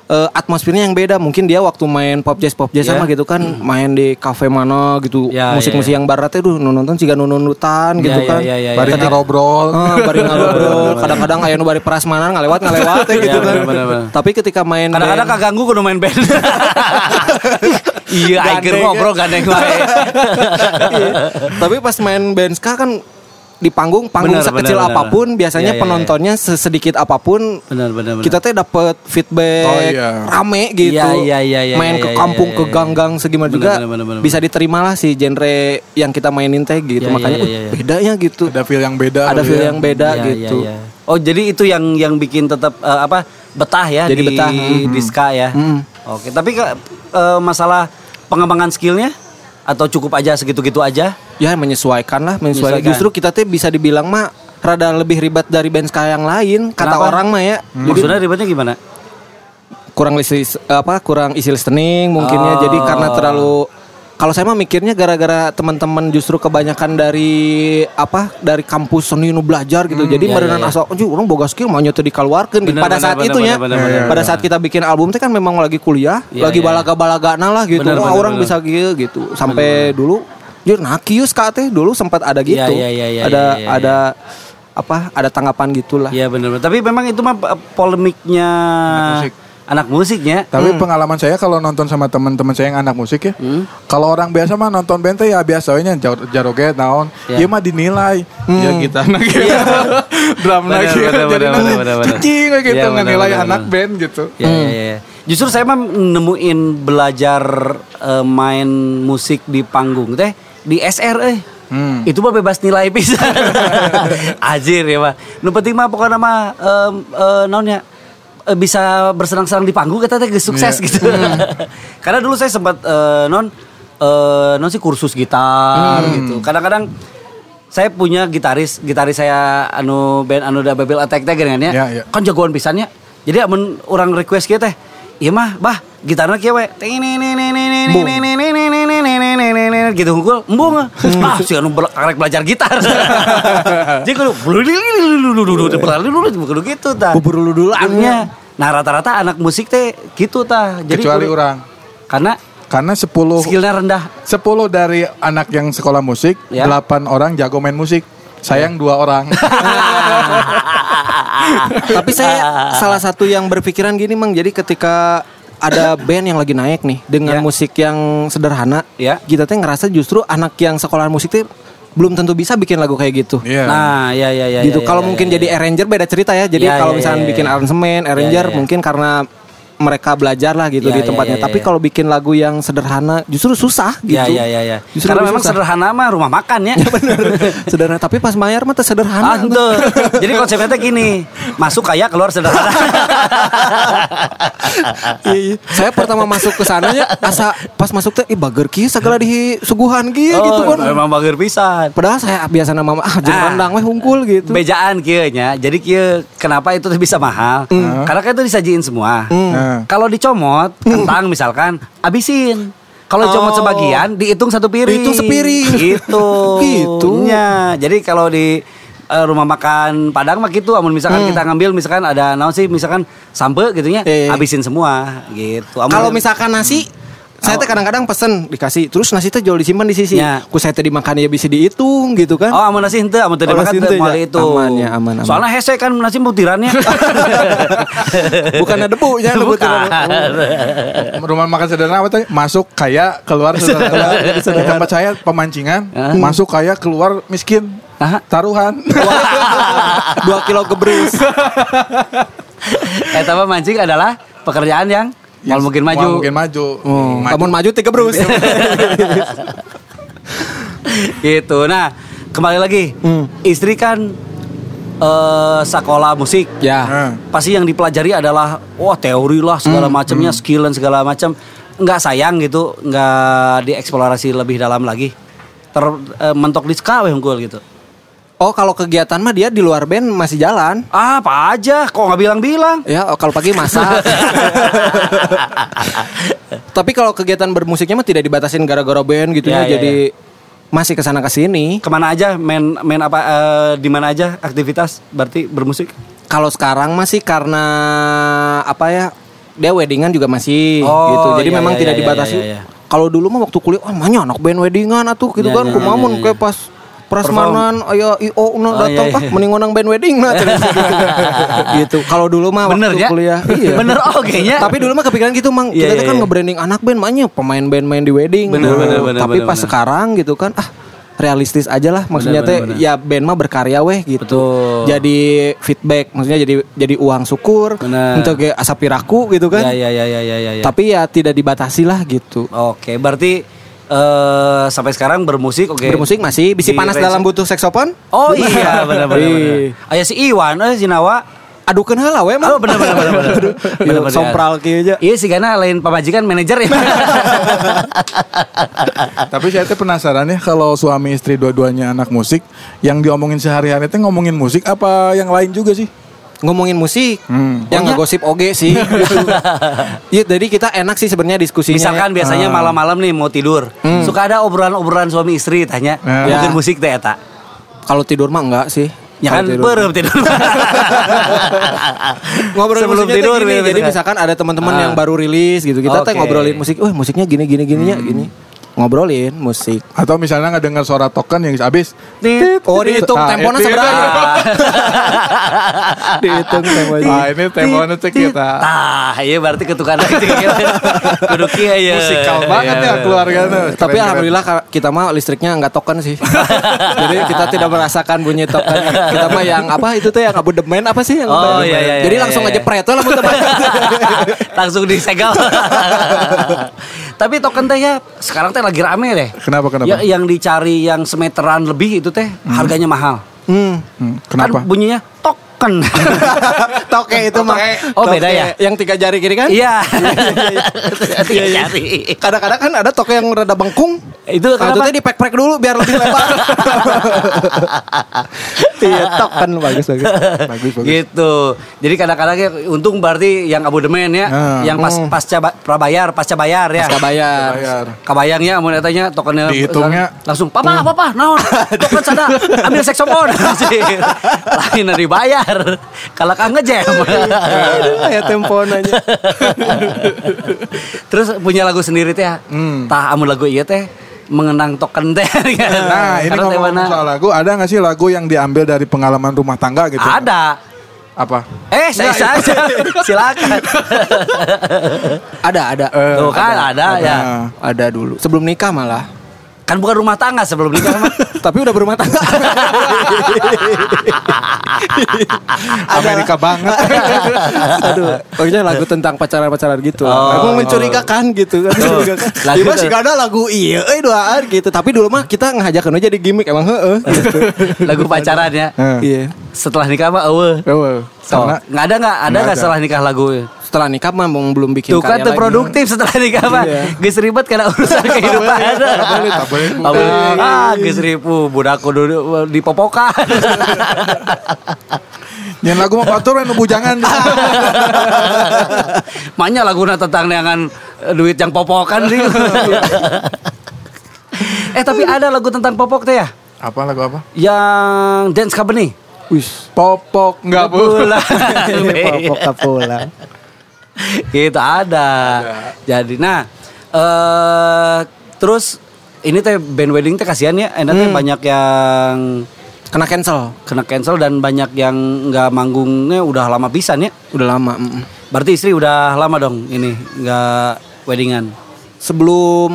S3: eh, atmosfernya yang beda. Mungkin dia waktu main pop jazz pop jazz
S1: Iya.
S3: sama gitu kan main di cafe mana gitu.
S1: Ya,
S3: Musik-musik
S1: ya, ya.
S3: yang barat itu nonton siga nununutan
S1: Ya,
S3: gitu
S1: ya,
S3: kan.
S1: ya, ya, ya.
S2: Bari ngarobrol.
S3: Ah, bari ngobrol. Kadang-kadang aya nu bari prasmanan ngalewat ngalewat ya, gitu
S1: Ya,
S3: kan.
S1: benar-benar.
S3: Tapi ketika main
S1: Kadang-kadang
S3: band-
S1: kaganggu kudu main band. Iya,
S3: Gandeng
S1: akhir
S3: ya.
S1: ngobrol gandeng wae.
S3: Iya. Tapi pas main band ska kan di panggung panggung
S1: Bener,
S3: sekecil
S1: bener, bener.
S3: apapun
S1: Iya,
S3: biasanya
S1: iya,
S3: penontonnya sesedikit apapun
S1: Benar benar benar.
S3: kita teh dapat feedback
S2: Oh, iya.
S3: rame gitu.
S1: Iya, iya, iya, iya,
S3: main
S1: iya,
S3: ke
S1: iya,
S3: kampung
S1: iya,
S3: ke
S1: iya.
S3: gang-gang segimana
S1: Bener,
S3: juga
S1: bener, bener, bener.
S3: bisa diterima lah si genre yang kita mainin teh gitu.
S1: Iya, iya,
S3: Makanya
S1: iya,
S3: "Wih,
S1: iya.
S3: bedanya gitu.
S2: Ada feel yang beda.
S3: Ada
S2: kali
S3: feel
S2: ya.
S3: yang beda
S1: Iya,
S3: gitu.
S1: iya, iya. Oh, jadi itu yang yang bikin tetap eh, apa? betah ya
S3: Jadi
S1: di
S3: betah,
S1: di ska ya.
S3: Mm.
S1: Oke, tapi ke- eh, masalah pengembangan skillnya atau cukup aja segitu-gitu aja?
S3: Ya menyesuaikan lah, menyesuaikan.
S1: Menyesuaikan.
S3: Justru kita teh bisa dibilang mah rada lebih ribet dari band ska yang lain kata
S1: Kenapa?
S3: orang mah ya.
S2: Hmm.
S3: Jadi
S1: Maksudnya ribetnya gimana?
S3: kurang isi apa kurang isi listening mungkinnya.
S1: Oh.
S3: Jadi karena terlalu kalau saya mah mikirnya gara-gara teman-teman justru kebanyakan dari apa dari kampus seni nu belajar gitu. Jadi
S1: ya,
S3: beneran
S1: ya, ya.
S3: asal "Anjing, urang boga skill mah nya teu dikaluarkeun gitu.
S1: Bener,
S3: pada
S1: bener,
S3: saat
S1: bener,
S3: itu ya.
S1: bener, bener,
S3: pada saat kita bikin album teh kan memang lagi kuliah,
S1: Ya,
S3: lagi
S1: ya, ya.
S3: balaga-balagana lah gitu.
S1: Bener,
S3: Wah,
S1: bener,
S3: orang
S1: bener.
S3: bisa gitu gitu. Sampai dulu jujur nah kius Kak, teh dulu sempat ada gitu.
S1: ya, ya, ya,
S3: ada
S1: ya, ya, ya.
S3: ada apa ada tanggapan gitulah.
S1: Iya benar. Tapi memang itu mah eh, polemiknya
S2: musik.
S1: anak musiknya.
S2: Tapi pengalaman saya kalau nonton sama teman-teman saya yang anak musik ya, kalau orang biasa mah nonton band teh ya biasanya jar- jaroget naon,
S1: Ya.
S2: ya mah dinilai, ya gitar nah gitu, drum nah
S1: Bener,
S2: gitu,
S1: bener,
S2: jadi
S1: bener,
S2: nah,
S1: bener, bener, bener.
S2: cicing we gitu
S1: Ya, bener,
S2: ngenilai
S1: bener,
S2: anak
S1: bener.
S2: band gitu.
S1: Ya, ya, ya. Justru saya mah nemuin belajar eh, main musik di panggung teh di SR eh.
S2: Hmm.
S1: Itu mah bebas nilai bisa. Ajir ya mah. Nu penting mah pokoknya mah em, eh, naonnya eh, bisa bersenang-senang di panggung kata teh geus sukses
S2: Iya.
S1: gitu. Karena dulu saya sempat eh, non eh, non sih kursus gitar
S2: Hmm.
S1: gitu. Kadang-kadang saya punya gitaris, gitaris saya anu band anu da Babel Attack teh geningan ya.
S2: Ya, ya.
S1: Kan jagoan pisannya. Jadi amun orang request kieu teh, iya mah bah gitarna kieu we. Ting ini ini ini ini ini
S3: Bung.
S1: ini ini ini ini ini ini ini ini ini gitu hungkul embung.
S3: Hmm.
S1: Ah si anu bela- karek belajar gitar. Jadi kudu blululululululul, berlalu-lulu, kudu gitu tah.
S3: Bubur lulu-luluannya.
S1: Nah rata-rata anak musik teh gitu tah. Jadi
S2: Kecuali
S1: kudu-
S2: orang,
S1: Karena
S2: karena
S3: Oh.
S2: 10
S1: skillnya rendah.
S2: 10 dari anak yang sekolah musik,
S1: Ya.
S2: 8 orang jago main musik, sayang dua orang.
S3: Tapi saya
S1: Ah.
S3: salah satu yang berpikiran gini Mang, jadi ketika ada band yang lagi naik nih dengan
S1: Ya.
S3: musik yang sederhana,
S1: Ya.
S3: kita teh ngerasa justru anak yang sekolah musik teh belum tentu bisa bikin lagu kayak gitu.
S2: Iya.
S1: Nah, ya ya ya.
S3: gitu.
S1: ya, ya,
S3: kalau
S1: ya,
S3: mungkin
S1: ya,
S3: jadi
S1: ya.
S3: arranger beda cerita ya. Jadi
S1: Ya,
S3: kalau
S1: ya,
S3: misalnya
S1: ya,
S3: bikin
S1: ya.
S3: aransemen, arranger
S1: Ya, ya, ya.
S3: mungkin karena mereka belajar lah gitu
S1: Ya,
S3: di
S1: ya,
S3: tempatnya.
S1: ya, ya,
S3: Tapi
S1: ya.
S3: kalau bikin lagu yang sederhana justru susah gitu.
S1: Ya ya ya ya.
S3: Justru
S1: Karena
S3: lebih
S1: memang
S3: susah.
S1: sederhana mah rumah makan ya.
S3: sederhana tapi pas mayar mah teh sederhana.
S1: Ante. Ah, gitu. Jadi konsepnya teh gini, masuk kaya keluar sederhana.
S3: Iya, iya. Saya pertama masuk ke sana ya asa pas masuk teh ih bager kieu segala di suguhan kieu gitu
S1: Oh,
S3: kan.
S1: Memang bageur pisan.
S3: Padahal saya biasa nama ah jeung
S1: Ah.
S3: rendang weh hungkul gitu.
S1: Bejaan kieu nya. Jadi kieu kenapa itu tuh bisa mahal?
S3: Hmm.
S1: Karena kan itu disajiin semua.
S2: Nah.
S1: Kalau dicomot kentang misalkan abisin. Kalau dicomot
S3: Hmm. Oh.
S1: sebagian dihitung satu piring.
S3: Dihitung sepiring.
S1: Gitu.
S3: Gitu.
S1: Nya. Jadi kalau di eh, rumah makan Padang mah gitu, amun
S3: Hmm.
S1: misalkan kita ngambil misalkan ada naon sih misalkan sampe gitu nya,
S3: Eh.
S1: abisin semua gitu. Amun-
S3: Kalau misalkan nasi saya teh kadang-kadang pesen dikasih terus nasi teh jauh disimpan di sisi.
S1: Oh. Ya.
S3: Ku saya teh dimakan ya bisa dihitung gitu kan.
S1: Oh, amun nasi henteu, amun teu
S3: Oh,
S1: dimakan
S3: nasi
S1: teu
S3: henteu
S1: moal
S3: ya.
S1: itu.
S3: Aman ya, aman, aman.
S1: Soalnya hese kan nasi butirannya.
S3: Bukan ada debunya ada
S1: Bukan.
S3: butiran.
S2: rumah makan sederhana apa tadi? Masuk kaya, keluar sederhana. Di tempat saya pemancingan, masuk kaya, keluar miskin.
S1: Aha.
S2: Taruhan.
S3: Dua kilo gebrus.
S1: Eta mah Eh, mancing adalah pekerjaan yang mau mungkin maju.
S2: Mungkin maju. Maju.
S3: Kamu maju tiga gebrus.
S1: gitu. Nah, kembali lagi.
S3: Hmm.
S1: Istri kan eh, sekolah musik.
S3: ya.
S2: Nah.
S1: Pasti yang dipelajari adalah wah teori lah segala
S3: Hmm,
S1: macamnya, skill dan segala macam. Nggak sayang gitu, nggak dieksplorasi lebih dalam lagi. Ter eh, mentok di ska weh, unggul gitu.
S3: Oh kalau kegiatan mah dia di luar band masih jalan.
S1: Ah, apa aja kok nggak bilang-bilang.
S3: Ya kalau pagi masak. Tapi kalau kegiatan bermusiknya mah tidak dibatasin gara-gara band gitu
S1: Ya, ya,
S3: ya. jadi masih kesana kesini.
S1: Kemana aja main main apa eh, di mana aja aktivitas berarti bermusik?
S3: Kalau sekarang masih karena apa ya? Dia weddingan juga masih
S1: Oh,
S3: gitu. Jadi
S1: ya,
S3: memang
S1: ya,
S3: tidak
S1: ya,
S3: dibatasi.
S1: ya, ya, ya.
S3: Kalau dulu mah waktu kuliah, wah banyak anak band weddingan atuh gitu
S1: Ya,
S3: kan.
S1: ya, ya,
S3: Kumamun
S1: ya, ya.
S3: kayak pas prasmanan aya IO
S1: Oh,
S3: na
S1: ya, ya.
S3: datang ah mending ngundang band wedding nah gitu. gitu. Kalau dulu mah
S1: Bener
S3: waktu
S1: ya?
S3: kuliah. iya.
S1: Bener oke nya.
S3: Tapi dulu mah kepikiran gitu mang
S1: Iya,
S3: Kita tuh
S1: iya,
S3: kan
S1: iya.
S3: nge-branding anak band makanya Pemain band main di wedding
S1: Bener,
S3: Dulu.
S1: bener, bener, bener,
S3: Tapi pas
S1: bener.
S3: sekarang gitu kan Ah realistis aja lah Maksudnya
S1: Bener,
S3: teh
S1: bener,
S3: Ya band mah berkarya weh gitu
S1: Betul.
S3: Jadi feedback Maksudnya jadi jadi uang syukur
S1: Bener.
S3: Untuk ge- asap piraku gitu kan
S1: Ya ya ya ya ya ya. ya.
S3: Tapi ya tidak dibatasi lah gitu
S1: Oke, berarti eh sampai sekarang bermusik oke.
S3: Bermusik masih Bisi
S1: Di
S3: panas
S1: range-
S3: dalam butuh saksofon
S1: Oh iya benar benar. benar.
S3: Ih.
S1: Aya si Iwan, eh si Nawa. Iya,
S3: adukan heula we mah.
S1: Oh, bener, bener, bener, bener.
S3: Aduh,
S1: Bener, bener.
S3: Sompral kieu aja.
S1: Iya sih karena lain pemajikan manajer ya.
S2: Nah, Tapi saya tuh penasaran ya kalau suami istri dua-duanya anak musik, yang diomongin sehari-hari teh ngomongin musik apa yang lain juga sih?
S3: ngomongin musik
S2: Hmm.
S3: yang
S1: Pokoknya-
S3: ngegosip oge sih gitu. Iya, jadi kita enak sih sebenarnya diskusinya.
S1: Misalkan biasanya malam-malam nih mau tidur, suka ada obrolan-obrolan suami istri tanya,
S2: Ya.
S1: mungkin
S3: Ya.
S1: musik teh eta.
S3: Nah, kalau tidur mah enggak sih.
S1: Ya
S3: Kalau
S1: kan
S3: tidur.
S1: berem tidur.
S3: ngobrolin
S1: Sebelum
S3: musiknya
S1: tidur
S3: tidur gini,
S1: gitu
S3: jadi
S1: kan.
S3: misalkan ada teman-teman
S1: Ah.
S3: yang baru rilis gitu kita teh
S1: Oke. Hmm.
S3: ngobrolin musik wah musiknya gini gini gininya gini ngobrolin musik
S2: Atau misalnya nggak dengar suara token yang habis?
S1: Tit,
S3: oh dihitung
S2: Ah,
S3: temponya
S2: itu-
S3: seberapa Nah,
S2: Dihitung temponya. Ah ini temponya cek kita.
S1: Tah, iya berarti ketukan aja. Kudu kieu ya.
S2: Musikal banget
S3: Iya.
S2: ya keluarga tuh.
S3: tapi
S2: Keren-keren.
S3: alhamdulillah ka- kita mah listriknya nggak token sih jadi kita tidak merasakan bunyi token kita mah yang apa itu tuh yang abu demen apa sih yang
S1: Oh, iya, iya,
S3: jadi
S1: iya,
S3: langsung
S1: iya.
S3: aja pret lah teman
S1: Langsung disegal. Tapi token teh ya sekarang teh lagi rame deh.
S2: Kenapa kenapa?
S1: Ya, yang dicari yang semeteran lebih itu teh harganya mahal.
S3: hmm.
S2: Hmm, kenapa?
S1: Kan bunyinya token.
S3: toke itu mah
S1: Oh, beda ya?
S3: yang tiga jari kiri kan
S1: Iya.
S3: Iya, iya.
S1: Cari.
S3: kadang-kadang kan ada toke yang rada bengkung
S1: Itu
S3: Nah, itu
S1: kenapa?
S3: teh di pack pack dulu biar lebih lebar. iya, token bagus bagus.
S2: bagus bagus.
S1: gitu. Jadi kadang-kadang ya, untung berarti yang abodemen ya,
S2: Ah.
S1: yang pas pasca ba- prabayar, pasca bayar ya.
S3: Pasca bayar.
S2: Bayar.
S1: Kabayangnya ya, mau datanya tokennya
S2: Dihitungnya.
S1: langsung papa papa naon token sana ambil seksopon lain dari bayar kalau kang ngejam
S3: Aduh, ya tempo nanya.
S1: terus punya lagu sendiri teh ya? tah amun lagu iya teh mengenang token teh
S2: Hmm. Nah, ini
S1: Karena teh
S2: ngomong
S1: mana?
S2: soal lagu, ada nggak sih lagu yang diambil dari pengalaman rumah tangga gitu?
S1: ada
S2: Apa?
S1: eh
S2: Nah,
S1: saya saja silakan
S3: Ada ada.
S2: Eh,
S1: tuh kan ada ya
S2: Nah.
S3: Ada dulu. Sebelum nikah malah.
S1: Kan bukan rumah tangga sebelum nikah mah.
S3: Tapi udah berumah tangga.
S2: Amerika banget.
S3: Aduh, pokoknya lagu tentang pacaran-pacaran gitu.
S1: Oh.
S3: Emang mencurigakan gitu kan. Mencurigakan.
S1: Lagu
S3: Iya,
S1: tuh-
S3: sih ada lagu iya euy doaan gitu. Tapi dulu mah kita ngajakan aja di gimmick emang heeh gitu.
S1: Lagu pacaran ya.
S2: Eh,
S3: Iya.
S1: Setelah nikah mah eueuh.
S2: well,
S1: So,
S2: karena-
S1: nggak ada nggak ada
S2: Nggak
S1: nggak
S2: ada.
S1: setelah nikah lagu
S3: Setelah nikah mah emang belum bikin
S1: Tuh kan
S3: karya
S1: tuh
S3: lagi.
S1: produktif setelah nikah mah
S3: Iya.
S1: Geus ribet karena urusan kehidupan
S2: Tak boleh, tak boleh.
S1: Abang, Ah geus ribu Budak kudu di uh, popokan
S2: Yang lagu mah batur anu bujangan.
S1: Makanya laguna tentang dengan duit yang popokan sih Eh tapi ada lagu tentang popok teh ya
S2: apa lagu apa?
S1: Yang Dance Company
S3: Wis.
S2: Popok nggak Iya. Nah, boleh.
S3: Popok kapulang.
S1: Gitu ada. Jadi nah eh terus ini teh band wedding teh kasihan ya, enak
S3: Hmm.
S1: teh banyak yang
S3: Kena cancel.
S1: kena cancel dan banyak yang nggak manggungnya udah lama pisan ya.
S3: Udah lama. mm.
S1: Berarti istri udah lama dong ini nggak weddingan.
S3: Hmm. Sebelum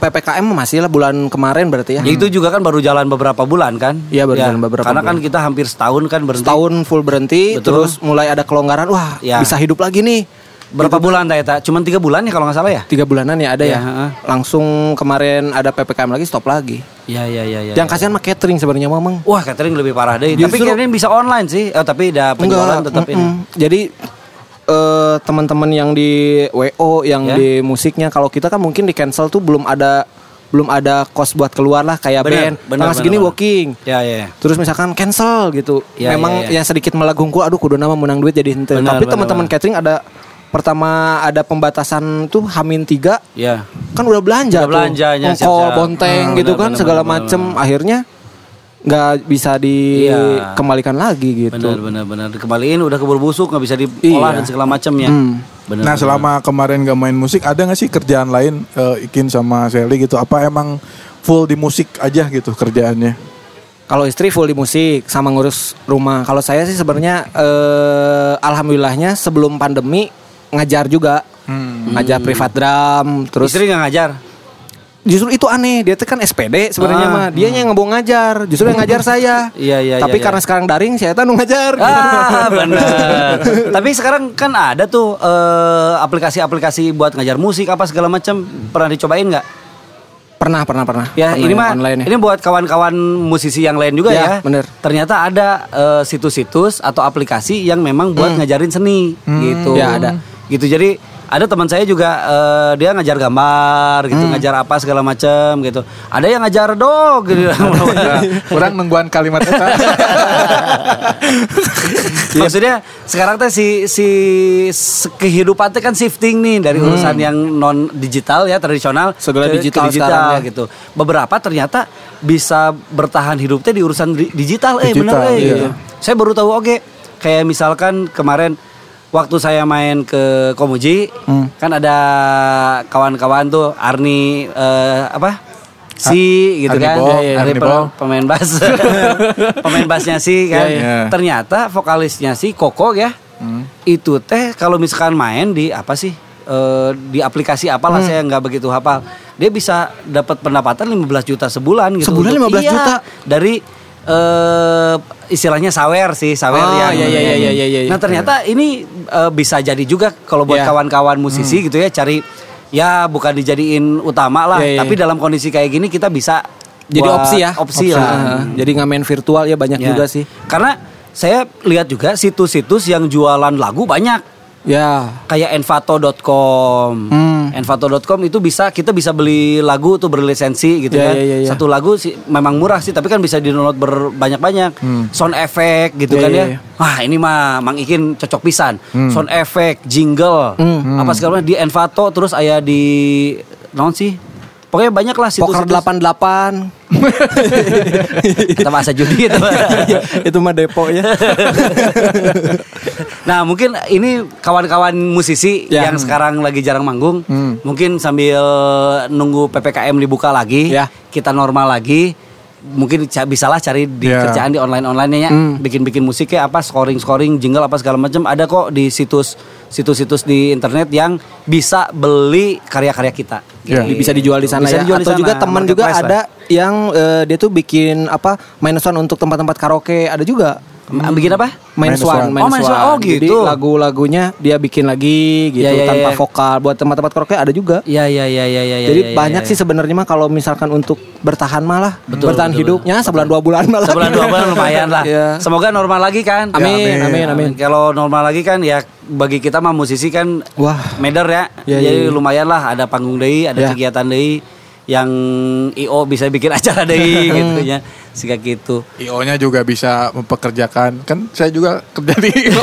S3: PPKM masih lah bulan kemarin berarti ya.
S1: Ya, itu juga kan baru jalan beberapa bulan kan?
S3: Iya, baru jalan beberapa
S1: Karena kan kita hampir setahun kan berhenti.
S3: Setahun full berhenti,
S1: Betul.
S3: terus mulai ada kelonggaran. Wah,
S1: Ya.
S3: bisa hidup lagi nih.
S1: Berapa bulan teh Eta? Cuman tiga bulan ya kalau nggak salah ya?
S3: Tiga bulanan ya ada
S1: Ya,
S3: ya.
S1: heeh.
S3: Langsung kemarin ada PPKM lagi, stop lagi.
S1: Iya iya iya. Ya,
S3: Yang kasihan mah catering sebenarnya Mamang.
S1: Wah catering lebih parah deh. tapi
S3: Justru-
S1: catering bisa online sih. Eh, tapi udah penjualan tetap ini.
S3: mm-mm. Jadi eh, teman-teman yang di WO, yang
S1: Ya.
S3: di musiknya, kalau kita kan mungkin di cancel tuh belum ada belum ada kos buat keluar lah kayak
S1: Bener,
S3: band.
S1: bener,
S3: Tanggal
S1: bener,
S3: segini
S1: bener.
S3: booking.
S1: Ya ya.
S3: Terus misalkan cancel gitu.
S1: Ya,
S3: Memang
S1: ya, ya.
S3: yang sedikit melagungku aduh kudu nama menang duit jadi henteu.
S1: Benar,
S3: Tapi
S1: benar,
S3: teman-teman
S1: benar.
S3: catering ada pertama ada pembatasan tuh hamin 3
S1: Ya.
S3: kan udah belanja
S1: Udah belanjanya,
S3: tuh. Ongkol,
S1: siap-siap.
S3: bonteng
S1: Hmm,
S3: gitu
S1: benar,
S3: kan
S1: benar,
S3: segala
S1: benar,
S3: macem akhirnya nggak bisa
S1: Iya.
S3: dikembalikan lagi gitu.
S1: Benar benar benar dikembaliin udah keburu busuk nggak bisa diolah
S3: Iya.
S1: dan segala macam ya.
S3: Hmm.
S1: Benar.
S2: Nah selama kemarin gak main musik ada gak sih kerjaan lain eh, Ikin sama Sally gitu Apa emang full di musik aja gitu kerjaannya
S3: Kalau istri full di musik sama ngurus rumah. Kalau saya sih sebenarnya eh, alhamdulillahnya sebelum pandemi ngajar juga. Ngajar privat drum
S1: Hmm.
S3: terus
S1: istri nggak ngajar.
S3: justru itu aneh dia tuh kan SPD sebenarnya
S1: Ah.
S3: mah dia yang ngebong ngajar justru yang ngajar saya
S1: Iya, iya,
S3: tapi
S1: iya,
S3: karena
S1: iya.
S3: sekarang daring saya tuh nu ngajar
S1: Ah benar. Tapi sekarang kan ada tuh eh, aplikasi-aplikasi buat ngajar musik apa segala macam pernah dicobain nggak?
S3: Pernah, pernah, pernah.
S1: Ya ini
S3: Pernah yang
S1: mah
S3: online ya.
S1: ini buat kawan-kawan musisi yang lain juga ya.
S3: Ya, bener.
S1: Ternyata ada eh, situs-situs atau aplikasi yang memang buat ngajarin seni gitu.
S3: Hmm. Ya, ada.
S1: Gitu jadi ada teman saya juga eh, dia ngajar gambar gitu,
S3: Hmm.
S1: ngajar apa segala macam gitu. Ada yang ngajar dog gitu.
S3: ya.
S2: Nah, orang nungguan kalimat eta.
S1: Iya, Maksudnya sekarang teh si si se- kehidupan teh kan shifting nih dari urusan yang non digital ya tradisional
S3: Segala
S1: ke- ke
S3: digital sekarang ya.
S1: gitu. Beberapa ternyata bisa bertahan hidup teh di urusan di- digital eh benar eh
S2: Digital, iya.
S1: gitu. Saya baru tahu oke kayak misalkan kemarin waktu saya main ke Komuji kan ada kawan-kawan tuh Arni eh, apa si gitu
S2: Arni
S1: kan
S2: Bong,
S1: Iya, iya,
S2: Arni
S1: pe-
S2: Bong.
S1: pemain bass pemain bassnya si kan
S2: Iya, iya.
S1: ternyata vokalisnya si Koko ya
S3: Hmm.
S1: itu teh kalau misalkan main di apa sih eh, di aplikasi
S3: Hmm.
S1: apalah saya nggak begitu hafal dia bisa dapat pendapatan 15 juta sebulan gitu
S3: Sebulan
S1: Untuk-
S3: 15
S1: Iya,
S3: juta?
S1: dari eh, istilahnya sawer sih sawer
S3: Ah,
S1: yang
S3: iya, iya, iya, iya, iya, iya.
S1: nah ternyata ini eh, bisa jadi juga kalau buat
S3: Iya.
S1: kawan-kawan musisi gitu ya cari ya bukan dijadiin utama lah
S3: Iya, iya,
S1: tapi
S3: iya.
S1: dalam kondisi kayak gini kita bisa
S3: Jadi
S1: buat
S3: opsi ya.
S1: opsi, lah
S3: Heeh. Jadi nggak main virtual ya banyak
S1: Ya.
S3: juga sih.
S1: Karena saya lihat juga situs-situs yang jualan lagu banyak
S3: Ya.
S1: kayak envato.com.
S3: Hmm.
S1: Envato.com itu bisa kita bisa beli lagu tuh berlisensi gitu
S3: Ya,
S1: kan.
S3: ya, ya, ya.
S1: Satu lagu sih memang murah sih tapi kan bisa di-download berbanyak-banyak. Sound effect gitu
S3: Hmm.
S1: kan
S3: Ya, ya,
S1: ya.
S3: ya. Hmm.
S1: Wah, ini mah Mang Ikin cocok pisan. Sound effect, jingle, apa segala macam di Envato terus aya di non sih. Pokoknya banyak lah
S3: Poker
S1: situs-situs.
S3: 88
S1: Kita bahasa judi itu.
S3: itu mah depo ya.
S1: Nah mungkin ini kawan-kawan musisi
S3: Ya. Hmm.
S1: yang sekarang lagi jarang manggung Mungkin sambil nunggu PPKM dibuka lagi
S3: Ya.
S1: Kita normal lagi Mungkin ca- bisalah cari di
S2: Ya.
S1: kerjaan di online-onlinenya ya
S3: Hmm.
S1: Bikin-bikin musik ya apa scoring-scoring jingle apa segala macam Ada kok di situs situs-situs di internet yang bisa beli karya-karya kita
S2: Ya.
S1: Gitu.
S3: bisa dijual di sana
S1: Bisa
S3: ya.
S1: dijual di
S3: Atau
S1: sana,
S3: juga teman juga
S1: marketplace
S3: ada yang eh, dia tuh bikin apa minus one untuk tempat-tempat karaoke ada juga.
S1: lah. M- Bikin apa?
S2: Minus
S3: Minus, one,
S2: one.
S1: Oh, minus one. Oh,
S3: Jadi
S1: gitu.
S3: lagu-lagunya dia bikin lagi gitu
S1: Ya, ya,
S3: tanpa
S1: ya.
S3: vokal buat tempat-tempat karaoke ada juga.
S1: Ya ya ya ya ya ya,
S3: Jadi
S1: ya, ya,
S3: banyak
S1: ya.
S3: sih sebenarnya mah kalau misalkan untuk bertahan malah
S1: Betul,
S3: bertahan
S1: betul,
S3: hidupnya sebulan dua bulan malah.
S1: Sebulan dua bulan lumayan lah.
S3: Iya.
S1: Semoga normal lagi kan.
S3: Amin,
S2: Ya,
S3: amin,
S2: amin.
S3: amin.
S1: Kalau normal lagi kan ya bagi kita mah musisi kan
S3: Wah.
S1: meder ya.
S3: Ya, ya,
S1: Jadi
S3: ya.
S1: lumayan lah ada panggung deui, ada
S3: Ya.
S1: kegiatan deui yang IO bisa bikin acara
S3: Iya.
S1: deui gitu ya. Sehingga gitu.
S2: IO-nya juga bisa mempekerjakan. Kan saya juga kerja di IO.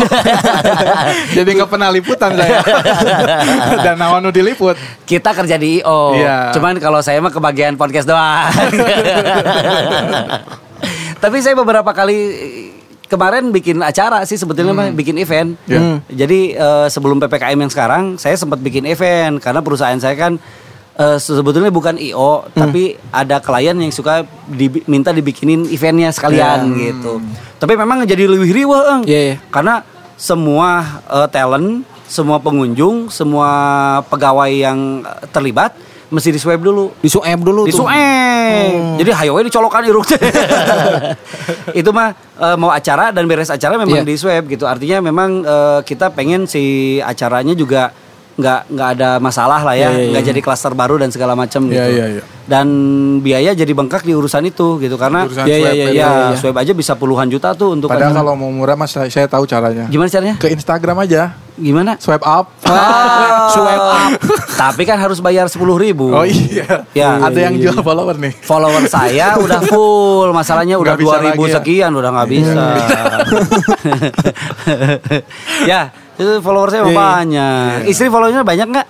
S2: Jadi nggak pernah liputan saya. Dan nawan nu diliput.
S1: Kita kerja di IO.
S2: Iya.
S1: Cuman kalau saya mah kebagian podcast doang. Tapi saya beberapa kali kemarin bikin acara sih sebetulnya mah bikin event.
S2: Iya.
S1: Hmm. Jadi eh, sebelum PPKM yang sekarang saya sempat bikin event karena perusahaan saya kan eh, sebetulnya bukan IO tapi ada klien yang suka dibi- minta dibikinin eventnya sekalian gitu. Tapi memang jadi lebih riweuh, Eng.
S3: Iya, iya.
S1: Karena semua eh, talent, semua pengunjung, semua pegawai yang eh, terlibat mesti di swipe dulu.
S3: Disu app dulu
S1: Di
S3: tuh.
S1: sueng. Jadi hayo we dicolokan irung teh. Itu mah eh, mau acara dan beres acara memang
S3: Iya.
S1: di swab gitu. Artinya memang eh, kita pengen si acaranya juga nggak nggak ada masalah lah ya,
S3: Iya, iya,
S1: nggak
S3: iya.
S1: jadi klaster baru dan segala macam
S2: Iya,
S1: gitu.
S2: iya, iya.
S1: Dan biaya jadi bengkak di urusan itu gitu karena
S2: Urusan
S3: Iya, iya,
S2: swipe
S3: iya,
S1: ya,
S2: itu.
S3: iya.
S1: swab aja bisa puluhan juta tuh untuk
S2: Padahal
S1: acara.
S2: kalau mau murah mas saya, saya tahu caranya.
S1: gimana caranya?
S2: Ke Instagram aja.
S1: Gimana?
S2: Swipe up.
S1: Ah, swipe up. Tapi kan harus bayar sepuluh ribu.
S2: Oh iya.
S1: Ya.
S2: Ada yang jual follower nih.
S1: follower saya udah full masalahnya udah
S2: Nggak bisa
S1: dua ribu
S2: lagi ya? iya.
S1: sekian udah nggak bisa ya itu follower saya
S3: Iya.
S1: banyak istri followernya banyak nggak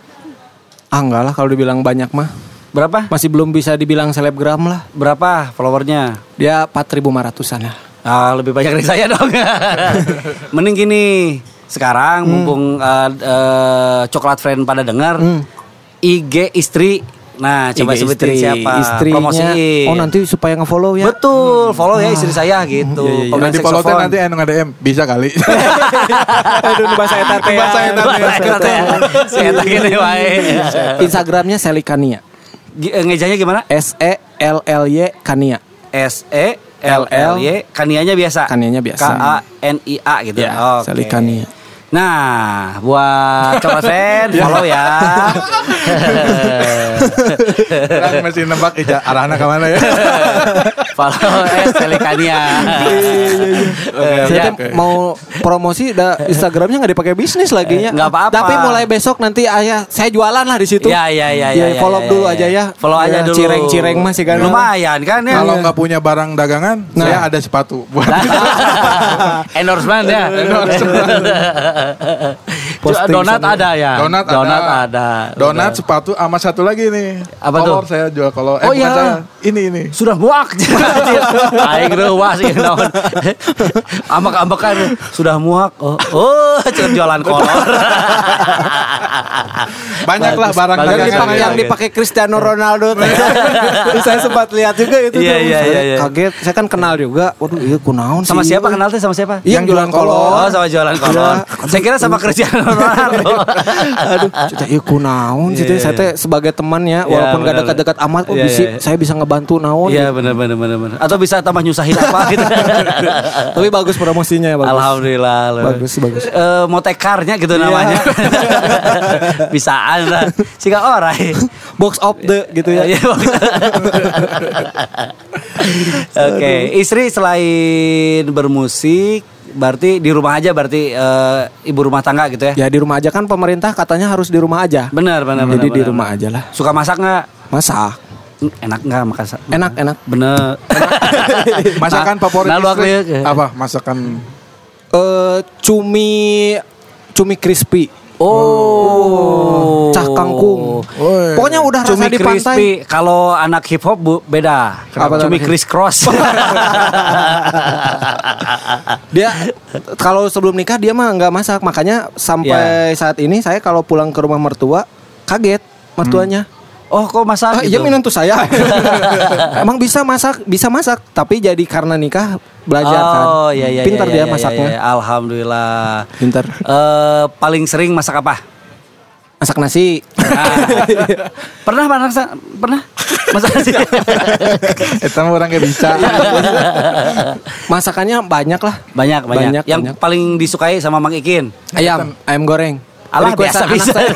S3: Ah enggak lah kalau dibilang banyak mah
S1: berapa
S3: masih belum bisa dibilang selebgram lah.
S1: berapa followernya
S3: Dia 4.500-an lah.
S1: Ah, lebih banyak dari saya dong. Mending gini, sekarang
S2: Hmm.
S1: mumpung eh, eh, coklat friend pada dengar
S2: Hmm.
S1: IG istri. Nah, coba
S3: IG
S1: sebutin
S3: istri.
S1: siapa?
S3: Istrinya.
S1: Promosiin.
S3: Oh nanti supaya nge-follow ya.
S1: Betul, follow ya istri saya gitu. Pemain
S2: Nanti follow teh
S1: saksofon.
S2: nanti anu nge-DM bisa kali.
S3: Aduh nu bahasa eta teh.
S2: Bahasa eta teh.
S1: ya. Bahasa eta teh. Si eta gini
S3: Iya.
S1: wae.
S3: Instagramnya Selikania.
S1: G- eh, Ngejanya gimana?
S3: S E L L Y Kania.
S1: S E L L Y Kanianya biasa.
S3: Kanianya biasa.
S1: K A N I A gitu.
S3: Ya,
S1: Oke.
S3: Selikania.
S1: Nah, buat Coba Sen follow ya.
S2: Orang masih Kan nembak Ica, arahnya kemana ya?
S1: follow eh Selikania.
S2: Oke,
S3: Eh, Saya
S1: Ya,
S3: teh mau promosi da Instagramnya nggak dipakai bisnis lagi ya.
S1: Eh, Nggak apa-apa.
S3: Tapi mulai besok nanti ayah saya jualan lah di situ.
S1: Ya, ya, ya,
S3: Ya,
S1: ya, ya,
S3: follow
S1: ya,
S3: dulu
S1: ya,
S3: aja ya.
S1: Follow aja
S3: Ya,
S1: dulu.
S3: cireng-cireng mah sih kan.
S1: Lumayan kan ya.
S2: Kalau nggak punya barang dagangan, saya ada sepatu buat
S1: endorsement ya.
S2: Endorsement.
S1: Cuma
S3: Posting
S1: donat
S3: sana.
S1: ada ya.
S2: donat,
S1: donat
S2: ada.
S1: ada.
S2: Donat, sepatu, sama satu lagi nih.
S1: Apa
S2: kolor
S1: tuh?
S2: saya jual kolor. Eh,
S1: Oh,
S2: bukan
S1: iya.
S2: saya. Ini ini.
S1: sudah muak aing reuas ieu naon ambek-ambekan sudah muak oh, oh cek jualan kolor Bagus,
S2: Banyaklah barang
S1: bagus.
S3: Yang
S1: Jangan,
S3: dipakai,
S1: jangan,
S3: yang
S1: jangan.
S3: dipakai Cristiano Ronaldo teh. saya sempat lihat juga itu
S1: Iya,
S3: tuh.
S1: iya,
S3: Saya
S1: iya, iya.
S3: Kaget, saya kan kenal juga. Waduh, iya kunaon
S1: sama
S3: sih
S1: siapa
S3: ieu?
S1: kenal teh sama siapa
S3: Iya, yang jualan kolor.
S1: Oh, sama jualan kolor. Saya kira sama Cristiano Ronaldo.
S3: Aduh, cita iya ku naon sih teh.
S1: Iya,
S3: saya teh sebagai temannya walaupun gak
S1: benar.
S3: dekat-dekat amat kok
S1: Iya,
S3: bisa
S1: iya.
S3: saya bisa ngebantu naon. gitu.
S1: Iya benar benar benar benar. Atau bisa tambah nyusahin apa gitu.
S3: Tapi bagus promosinya ya, bagus.
S1: Alhamdulillah. lu.
S3: Bagus, bagus. Iya.
S1: Eh, motekarnya gitu namanya. Bisaan lah. Sika orai.
S3: Iya. Box of the gitu ya.
S1: Iya, Bang. Oke, istri selain bermusik berarti di rumah aja berarti eh, ibu rumah tangga gitu ya.
S3: Ya di rumah aja kan pemerintah katanya harus di rumah aja.
S1: Benar, benar, benar.
S3: Jadi di
S1: benar.
S3: rumah aja lah.
S1: Suka masak nggak?
S3: Masak.
S1: Enak nggak makan? sa-
S3: Enak, enak.
S1: Bener.
S2: Masakan
S1: Nah,
S2: favorit
S1: nah, lu aku
S2: istri.
S1: ya.
S2: Apa? Masakan
S3: Eh cumi cumi crispy.
S1: Oh,
S3: Cah kangkung.
S2: Woi.
S3: Pokoknya udah rasa
S1: Cumi
S3: di pantai.
S1: crispy. Kalau anak hip hop bu, beda.
S3: Kenapa
S1: Cumi
S3: tuh?
S1: criss cross.
S3: Dia kalau sebelum nikah dia mah nggak masak, makanya
S1: Ya.
S3: sampai saat ini saya kalau pulang ke rumah mertua kaget mertuanya.
S1: oh, kok masak?
S3: Ah, iya
S1: gitu?
S3: minum tuh saya. Emang bisa masak, bisa masak, tapi jadi karena nikah belajar kan.
S1: Oh iya iya.
S3: Pintar
S1: iya,
S3: dia
S1: iya,
S3: masaknya.
S1: iya, iya. Alhamdulillah.
S3: Pintar.
S1: Eh, paling sering masak apa?
S3: Masak nasi.
S1: Ah. pernah masak pernah masak nasi?
S2: Eta mah orang gak bisa.
S3: Masakannya banyak lah.
S1: banyak, banyak
S3: Banyak,
S1: Yang
S3: banyak.
S1: paling disukai sama Mang Ikin.
S3: Ayam, ayam goreng.
S1: Alah,
S3: Requestan anak
S1: biasa-biasa.
S3: saya.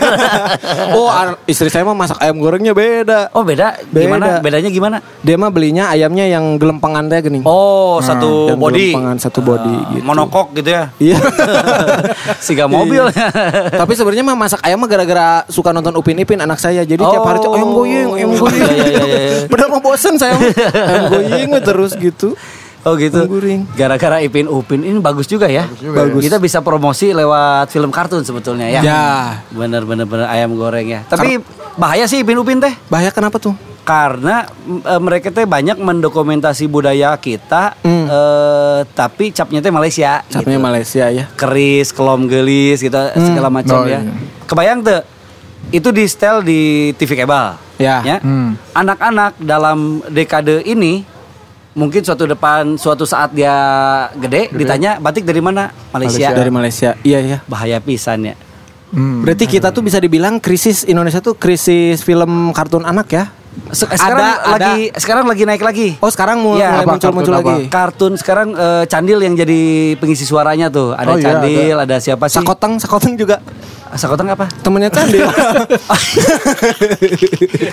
S3: oh, ar- istri saya mah masak ayam gorengnya beda.
S1: Oh beda.
S3: Beda.
S1: Gimana? Bedanya gimana?
S3: Dia mah belinya ayamnya yang gelempangan teh gini.
S1: Oh satu
S3: Nah, yang
S1: body.
S3: gelempangan satu body
S1: Ah,
S3: gitu.
S1: Monokok gitu ya.
S3: Iya.
S1: Siga mobil.
S3: Tapi sebenarnya mah masak ayam mah gara-gara suka nonton Upin Ipin anak saya. Jadi tiap hari tuh ayam
S1: Oh.
S3: goyeng, ayam goyeng.
S1: Iya, iya, iya, iya.
S3: Bener mau bosen saya. mah. ayam goyeng we terus gitu.
S1: Oh gitu.
S3: Guring.
S1: Gara-gara Ipin Upin ini bagus juga ya. Bagus
S2: juga
S3: Bagus. ya.
S1: Kita bisa promosi lewat film kartun sebetulnya ya.
S3: Ya.
S1: Bener bener bener ayam goreng ya. Tapi bahaya sih Ipin Upin teh.
S3: Bahaya kenapa tuh?
S1: Karena mm, eh, mereka teh banyak mendokumentasi budaya kita, eh, tapi capnya teh Malaysia.
S3: Capnya
S1: gitu.
S3: Malaysia ya.
S1: keris, kelom gelis gitu segala macam
S2: Oh,
S1: ya.
S2: iya.
S1: Kebayang tuh itu di setel di TV kabel.
S3: Ya.
S2: Hmm.
S1: Anak-anak dalam dekade ini mungkin suatu depan suatu saat dia gede, ditanya batik dari mana? Malaysia.
S3: Dari Malaysia. Iya iya.
S1: Bahaya pisan ya.
S2: Hmm.
S3: Berarti kita tuh bisa dibilang krisis Indonesia tuh krisis film kartun anak ya.
S1: Se- Sekarang
S3: Ada-
S1: lagi sekarang lagi naik lagi.
S3: Oh sekarang mul-
S1: Ya,
S2: apa,
S3: mulai muncul-muncul
S2: kartun
S3: lagi.
S1: Kartun sekarang eh, Candil yang jadi pengisi suaranya tuh. Ada
S2: Oh, iya,
S1: Candil, ada. siapa sih?
S3: Sakoteng, Sakoteng juga
S1: Sakoteng apa?
S3: temennya Candil.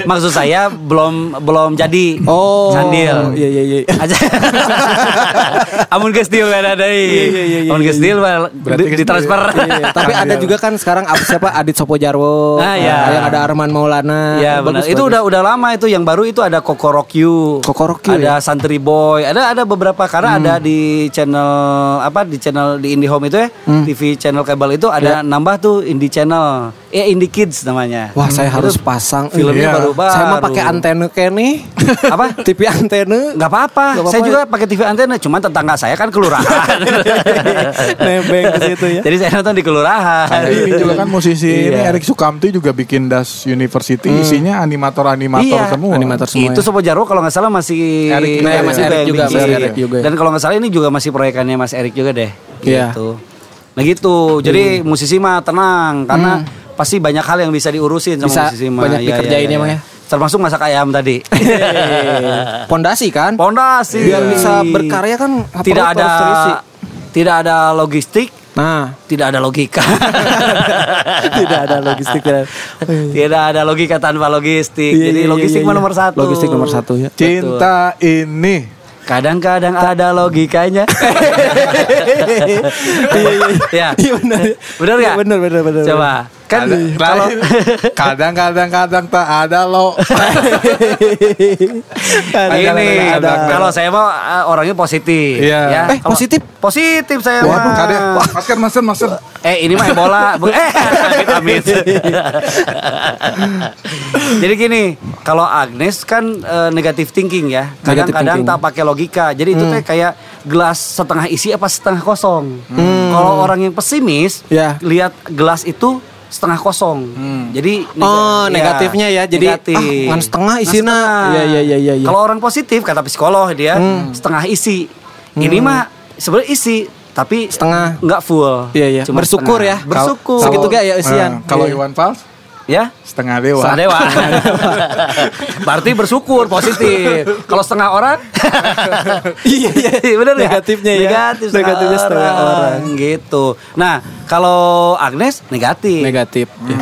S1: Maksud saya belum belum jadi.
S3: oh.
S1: Candil.
S3: Iya iya iya.
S1: aja amun geus deal beda deui amun geus deal mah
S2: Berarti
S1: di-
S2: geus
S1: ditransfer
S3: Iya, Tapi ada juga kan sekarang apa- siapa Adit Sopo Jarwo,
S1: Ah, iya.
S3: yang ada Arman Maulana.
S1: ya benar itu udah udah lama itu yang baru itu ada Kokorokyu
S3: Kokorokyu,
S1: ada Santri Boy ada ada beberapa
S3: Hmm.
S1: karena ada di channel apa di channel di Indihome itu ya
S3: Hmm.
S1: TV channel kabel itu
S3: Ya.
S1: ada nambah tuh Indie Channel eh Indie Kids namanya
S3: Wah, saya harus pasang
S1: filmnya
S2: Iya.
S1: baru baru
S3: Saya mah pakai antena kayak nih.
S1: Apa?
S3: TV antena.
S1: nggak apa-apa
S3: Nggak
S1: saya
S3: apa-apa ya?
S1: juga pakai TV antena cuman tetangga saya kan kelurahan
S3: Nebeng ke situ ya. Iya,
S1: jadi saya nonton di kelurahan
S2: Nah, ini juga kan musisi ini
S1: Iya. Hmm.
S2: Erik Sukamti juga bikin Das University isinya animator-animator
S1: Iya.
S2: semua.
S3: Animator semua
S1: Itu
S3: ya.
S1: Sopo Jarwo kalau nggak salah masih
S2: Erik juga ya,
S1: masih
S2: Erik
S1: Bang
S3: juga,
S1: Biji.
S3: masih Erik juga ya.
S1: Dan kalau nggak salah ini juga masih proyekannya Mas Erik juga deh.
S3: Iya. Hmm.
S1: Gitu. Nah gitu. Jadi musisi mah tenang karena pasti banyak hal yang bisa diurusin sama
S3: Bisa
S1: musisi mah. Iya,
S3: banyak dikerjain ya, Mang, ya.
S1: Termasuk masak ayam tadi.
S3: Iya, Pondasi kan?
S1: Pondasi.
S3: Biar bisa berkarya kan, apa
S1: tidak
S3: lu
S1: ada
S3: harus terisi.
S1: tidak ada logistik,
S3: Nah,
S1: tidak ada logika.
S3: Tidak ada logistik.
S1: tidak ada logika tanpa logistik.
S3: Iya,
S1: Jadi
S3: iya, iya,
S1: logistik
S3: iya.
S1: mah nomor satu.
S3: Logistik nomor satu, ya.
S2: Cinta ini.
S1: Kadang-kadang ada logikanya. ya.
S3: Iya benar.
S1: Benar
S3: Iya,
S1: ya?
S3: benar, benar, benar,
S1: Coba. Kan
S2: Ada-
S1: kalau
S2: kadang kadang kadang tak ada lo.
S1: ini
S2: Kadang-kadang ada.
S1: kalau saya mau eh, orangnya positif
S2: Iya.
S1: ya.
S3: Eh,
S1: Kalau-
S3: positif?
S1: Positif saya
S2: Waduh,
S1: mah.
S2: kadang masker masker masker.
S1: Eh ini mah bola. eh amit, amit. Jadi gini, kalau Agnes kan eh, negative thinking ya. Kadang-kadang
S3: thinking. Hmm.
S1: tak pakai logika. Jadi itu teh kayak gelas setengah isi apa setengah kosong. Kalau orang yang pesimis
S3: Hmm. Ya. Hmm.
S1: lihat gelas itu setengah kosong. Jadi nega-
S3: Oh,
S1: iya,
S3: negatifnya ya. Jadi,
S1: negatif.
S3: ah, ngan setengah
S1: Ngan
S3: isina.
S1: setengah.
S3: Iya, iya, iya, iya, iya.
S1: Kalau orang positif kata psikolog dia
S3: Hmm.
S1: setengah isi. Ini mah sebenarnya isi tapi
S3: Setengah.
S1: nggak full.
S3: Iya, iya. Bersyukur ya.
S1: Bersyukur.
S3: Segitu
S1: Kalau-
S3: ge ya eusian.
S2: Nah, Kalau Iwan Fals
S1: Ya.
S2: setengah dewa.
S1: Iya. Setengah dewa. Berarti bersyukur positif. Kalau setengah orang
S3: Iya, iya.
S1: bener ya?
S3: Negatifnya ya.
S1: Negatif
S3: Negatifnya setengah orang.
S1: Gitu. Nah, kalau Agnes negatif.
S3: Negatif. ya.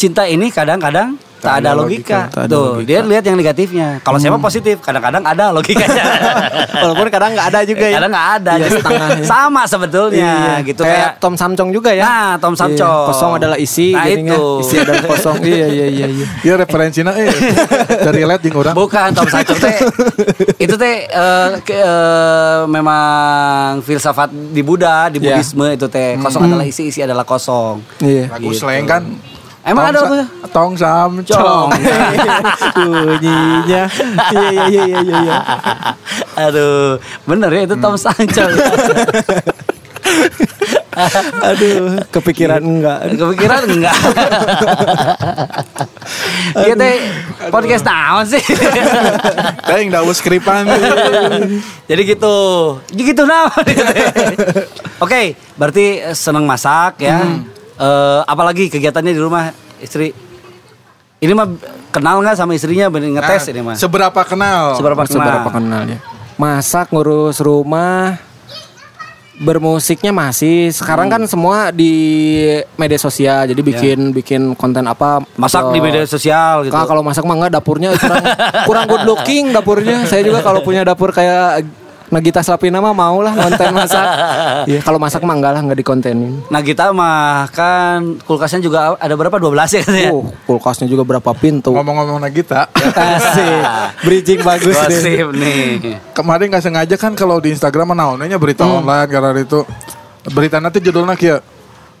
S1: Cinta ini kadang-kadang tak ada logika.
S3: Tak ada
S1: Tuh,
S3: logika. Hmm.
S1: dia lihat yang negatifnya. Kalau saya mah positif, kadang-kadang ada logikanya.
S3: Walaupun kadang nggak ada juga ya.
S1: Kadang nggak ada.
S3: Iya,
S1: Jadi
S3: setengah ya.
S1: Sama sebetulnya
S3: Iya.
S1: gitu
S3: kayak,
S1: kayak
S3: Tom Samcong juga ya.
S1: Nah, Tom
S3: Iya,
S1: Samcong.
S3: Kosong adalah isi
S1: Nah,
S3: jadinya.
S1: itu.
S3: Isi adalah kosong. iya, iya, iya, iya.
S2: Ya referensinya eh dari led jeung
S3: Ah.
S2: urang.
S1: Bukan Tom Sacok teh. Itu teh eh, ke- eh, memang filsafat di Buddha, di
S3: Ya.
S1: Buddhisme itu teh kosong adalah isi, isi adalah kosong.
S3: Iya.
S2: Lagu slang kan.
S1: Emang ada lagunya?
S2: Tong samcong.
S3: Bunyinya. Iya, iya, iya, iya, iya, iya. Hmm.
S1: Aduh, bener ya itu Tom Sacok.
S3: Aduh, kepikiran
S1: Iya.
S3: enggak.
S1: Kepikiran enggak? Iya teh podcast naon sih?
S2: Teng daus skripan.
S1: Jadi gitu. Jadi gitu nah. Oke, berarti eh, seneng masak ya.
S3: Hmm.
S1: Eh, apalagi kegiatannya di rumah istri. Ini mah kenal nggak sama istrinya bener ngetes ini mah.
S2: Nah, Seberapa kenal?
S1: Seberapa kenal?
S3: Nah, Seberapa kenal ya. Masak, ngurus rumah, bermusiknya masih. Sekarang kan
S1: Hmm.
S3: semua di media sosial, jadi bikin bikin konten apa?
S1: Ya. Masak
S3: atau-
S1: di media sosial gitu.
S3: Kak, kalau masak mah enggak dapurnya kurang, kurang good looking dapurnya. Saya juga kalau punya dapur kayak Nagita Slavina mah mau lah konten masak. Iya, kalau masak mah enggak lah enggak dikontenin.
S1: Nah kita mah kan kulkasnya juga ada berapa? 12 ya katanya.
S3: Uh, kulkasnya juga berapa pintu.
S2: Ngomong-ngomong Nagita,
S3: Asik. Bridging bagus deh.
S1: Gosip nih.
S2: kemarin nggak sengaja kan kalau di Instagram naonnya berita
S1: Hmm.
S2: online karena itu berita nanti judulnya kia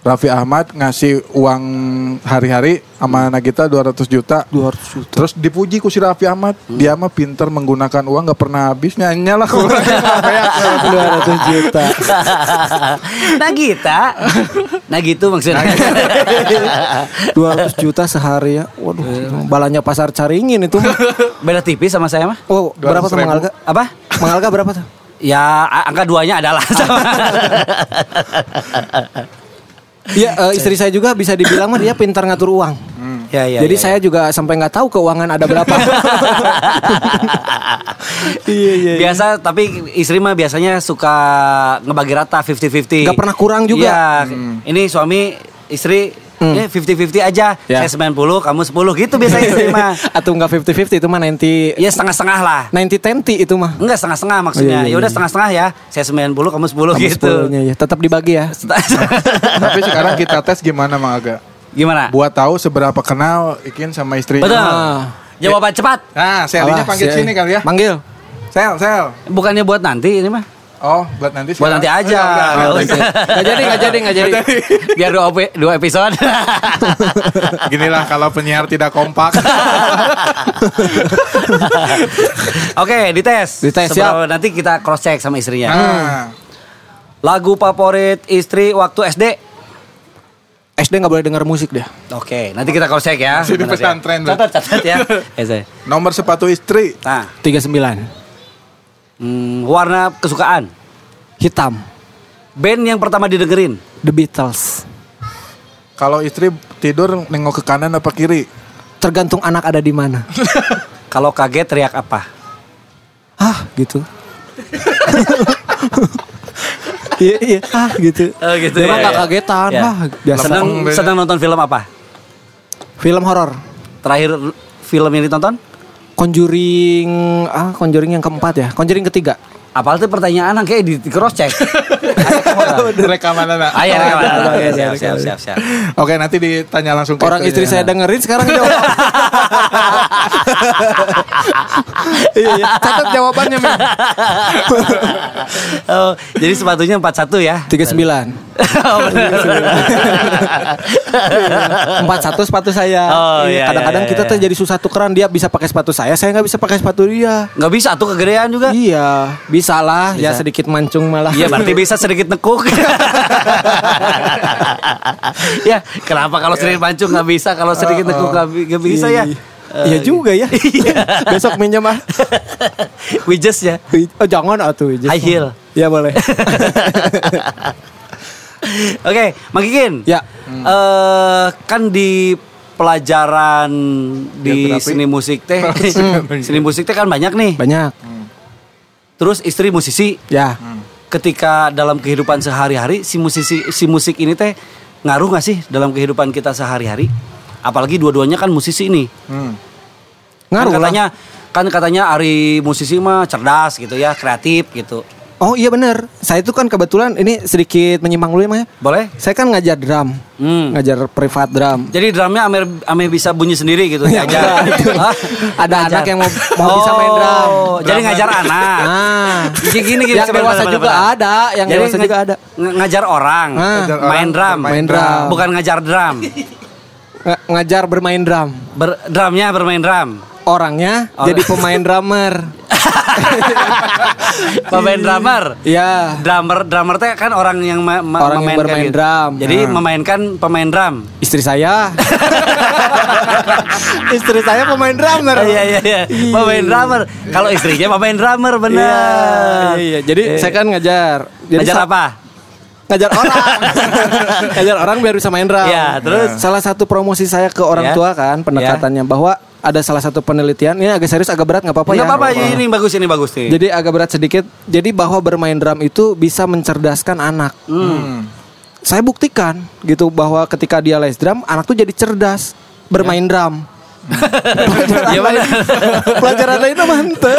S2: Raffi Ahmad ngasih uang hari-hari sama Nagita 200 juta.
S3: 200 juta.
S2: Terus dipuji ku si Raffi Ahmad, dia mah pinter menggunakan uang nggak pernah Nah, habisnya. Nyalah kurang.
S3: 200 juta.
S1: nah kita, nah gitu maksudnya.
S3: gitu. 200 juta sehari ya.
S2: Iya.
S3: Waduh, balanya pasar Caringin itu.
S1: Beda tipis sama saya mah.
S3: Oh, berapa
S2: 200.000.
S3: tuh Mangalga?
S1: Apa?
S3: Mangalga berapa tuh?
S1: Ya a- angka duanya adalah
S3: Iya, eh, istri saya juga bisa dibilang mah dia pintar ngatur uang.
S2: Hmm.
S1: ya, ya,
S2: Iya,
S3: Jadi
S1: ya,
S3: saya juga sampai nggak tahu keuangan ada berapa. iya, iya. iya.
S1: Biasa tapi istri mah biasanya suka ngebagi rata 50-50.
S3: Nggak pernah kurang juga. Hmm.
S1: Iya. Ini suami istri ya 50-50 aja.
S3: Ya.
S1: Saya 90, kamu 10 gitu biasanya istri mah.
S3: Atau nggak 50-50 itu mah 90
S1: Ya setengah-setengah lah.
S3: 90-10 itu mah.
S1: Enggak setengah-setengah maksudnya.
S3: Oh, iya, iya,
S1: Ya udah
S3: iya.
S1: setengah-setengah ya. Saya 90, kamu 10
S3: Sama
S1: gitu.
S3: 10-nya ya. Tetap dibagi ya.
S2: Tapi sekarang kita tes gimana Mang Aga?
S1: Gimana?
S2: Buat tahu seberapa kenal Ikin sama istrinya.
S1: Betul.
S3: Ah.
S1: Jawaban cepat.
S2: Nah, Selinya
S3: Alah,
S2: panggil
S3: si-
S2: sini kali ya.
S3: Panggil.
S2: Sel, sel.
S1: Bukannya buat nanti ini mah.
S2: Oh, buat nanti Oh,
S1: Buat nanti aja.
S3: Gak jadi, gak jadi, gak jadi.
S1: Biar dua, op- dua episode.
S2: Ginilah kalau penyiar tidak kompak.
S1: Oke, dites.
S3: Dites,
S1: Sebelum- Nanti kita cross check sama istrinya.
S2: Nah,
S1: Lagu favorit istri waktu SD.
S3: SD nggak boleh dengar musik dia.
S1: Oke, nanti kita cross check ya.
S2: Masih di
S1: Benar ya.
S2: pesantren, Bro.
S1: Catat, catat ya. Ya, saya.
S2: nomor sepatu istri.
S1: Nah,
S3: 39.
S1: hmm, warna kesukaan.
S3: Hitam.
S1: Band yang pertama didengerin.
S3: The Beatles.
S2: Kalau istri tidur nengok ke kanan apa kiri?
S3: Tergantung anak ada di mana.
S1: Kalau kaget teriak apa?
S3: Ah, gitu. Iya iya ah gitu.
S1: Oh, gitu
S3: Dia mah
S1: ya,
S3: nggak
S1: ya.
S3: kagetan
S1: Ya.
S3: ah biasa.
S1: Senang
S2: Lepeng.
S1: senang nonton film apa?
S3: Film horor.
S1: Terakhir film yang ditonton?
S3: Conjuring ah Conjuring yang keempat ya. Conjuring ketiga.
S1: Apal tuh pertanyaan yang kayak di cross check.
S2: Rekaman anak.
S1: Ayo rekaman. Oke, siap siap siap siap.
S2: Oke nanti ditanya langsung ke
S3: Orang
S2: itunya.
S1: iya.
S3: istri saya dengerin sekarang jawab. iya, iya. Catat jawabannya men.
S1: Oh, jadi sepatunya 41 ya.
S3: 39.
S1: Oh,
S3: Iya,
S1: benar.
S3: 41 sepatu saya.
S1: Oh,
S3: Iya,
S1: iya,
S3: Kadang-kadang
S1: iya,
S3: kita
S1: iya.
S3: tuh jadi susah tukeran dia bisa pakai sepatu saya, saya nggak bisa pakai sepatu dia.
S1: Nggak bisa tuh kegedean juga.
S3: Iya, bisa lah. Ya sedikit mancung malah.
S1: Iya berarti bisa sedikit nekuk Ya kenapa kalau sering pancung nggak bisa Kalau sedikit nekuk nggak bi- nggak bisa ya
S3: Ah,
S1: iya.
S3: Iya, Iya juga ya. Besok minjem ah.
S1: Widgets ya
S3: Oh, jangan atuh. Jess.
S1: High heel.
S3: Iya boleh.
S1: Oke Mang Kikin
S3: Ya.
S1: Eh, Kan di pelajaran di
S2: Geografi.
S1: seni musik teh Seni musik teh kan banyak nih
S3: Banyak.
S1: Terus istri musisi
S3: Ya.
S1: Ketika dalam kehidupan sehari-hari Si musisi si musik ini teh Ngaruh nggak sih dalam kehidupan kita sehari-hari Apalagi dua-duanya kan musisi nih
S2: Hmm.
S3: Ngaruh
S1: kan
S3: lah.
S1: katanya kan katanya Ari musisi mah cerdas gitu ya kreatif gitu
S3: Oh iya bener Saya itu kan kebetulan ini sedikit menyimpang dulu ya, Mas.
S1: boleh
S3: Saya kan ngajar drum,
S1: Hmm.
S3: ngajar privat drum.
S1: jadi drumnya Amer Amer bisa bunyi sendiri gitu
S3: Ya,
S1: diajar.
S3: enggak, itu.
S1: Hah?
S3: Ada anak yang mau- mau bisa main drum.
S1: Oh, jadi
S2: Drummer.
S1: ngajar anak
S3: Nah,
S1: Gini, gini, Ah. gini,
S3: yang
S1: sebentar,
S3: dewasa
S1: sebentar,
S3: juga
S1: sebentar.
S3: ada, yang
S1: Jadi
S3: dewasa
S1: nge-
S3: juga ada.
S1: nge- ngajar orang
S3: Ah.
S2: Ngajar
S1: main
S2: orang,
S1: drum
S2: bermain
S3: Main drum.
S1: bukan ngajar drum
S3: Nga- ngajar bermain drum.
S1: Ber, drumnya bermain drum
S3: Orangnya
S1: Orang-
S3: jadi pemain drummer. Iya.
S1: pemain drummer
S3: ya,
S1: drummer drummer teh kan orang yang ma- ma-
S3: Orang yang
S1: memainkan
S3: bermain
S1: gitu.
S3: drum.
S1: jadi
S3: Nah.
S1: memainkan pemain drum
S3: istri saya. istri saya pemain drummer.
S1: Ah, Iya iya iya. Pemain drummer. Kalau istrinya pemain drummer benar. Eh,
S3: Iya, iya. Jadi saya kan ngajar. Jadi
S1: Ngajar
S3: sa-
S1: apa?
S3: Ngajar orang. ngajar orang biar bisa main drum. Nah.
S1: Iya, terus?
S3: salah satu promosi saya ke orang
S1: Iya.
S3: tua kan pendekatannya bahwa ada salah satu penelitian ini agak serius agak berat nggak apa-apa ya.
S1: Enggak apa-apa, Iya, ini bagus ini bagus nih.
S3: Jadi agak berat sedikit. Jadi bahwa bermain drum itu bisa mencerdaskan anak.
S2: Hmm.
S3: Saya buktikan gitu bahwa ketika dia les drum, anak tuh jadi cerdas bermain drum.
S1: Iya benar.
S3: Pelajaran lain mah henteu.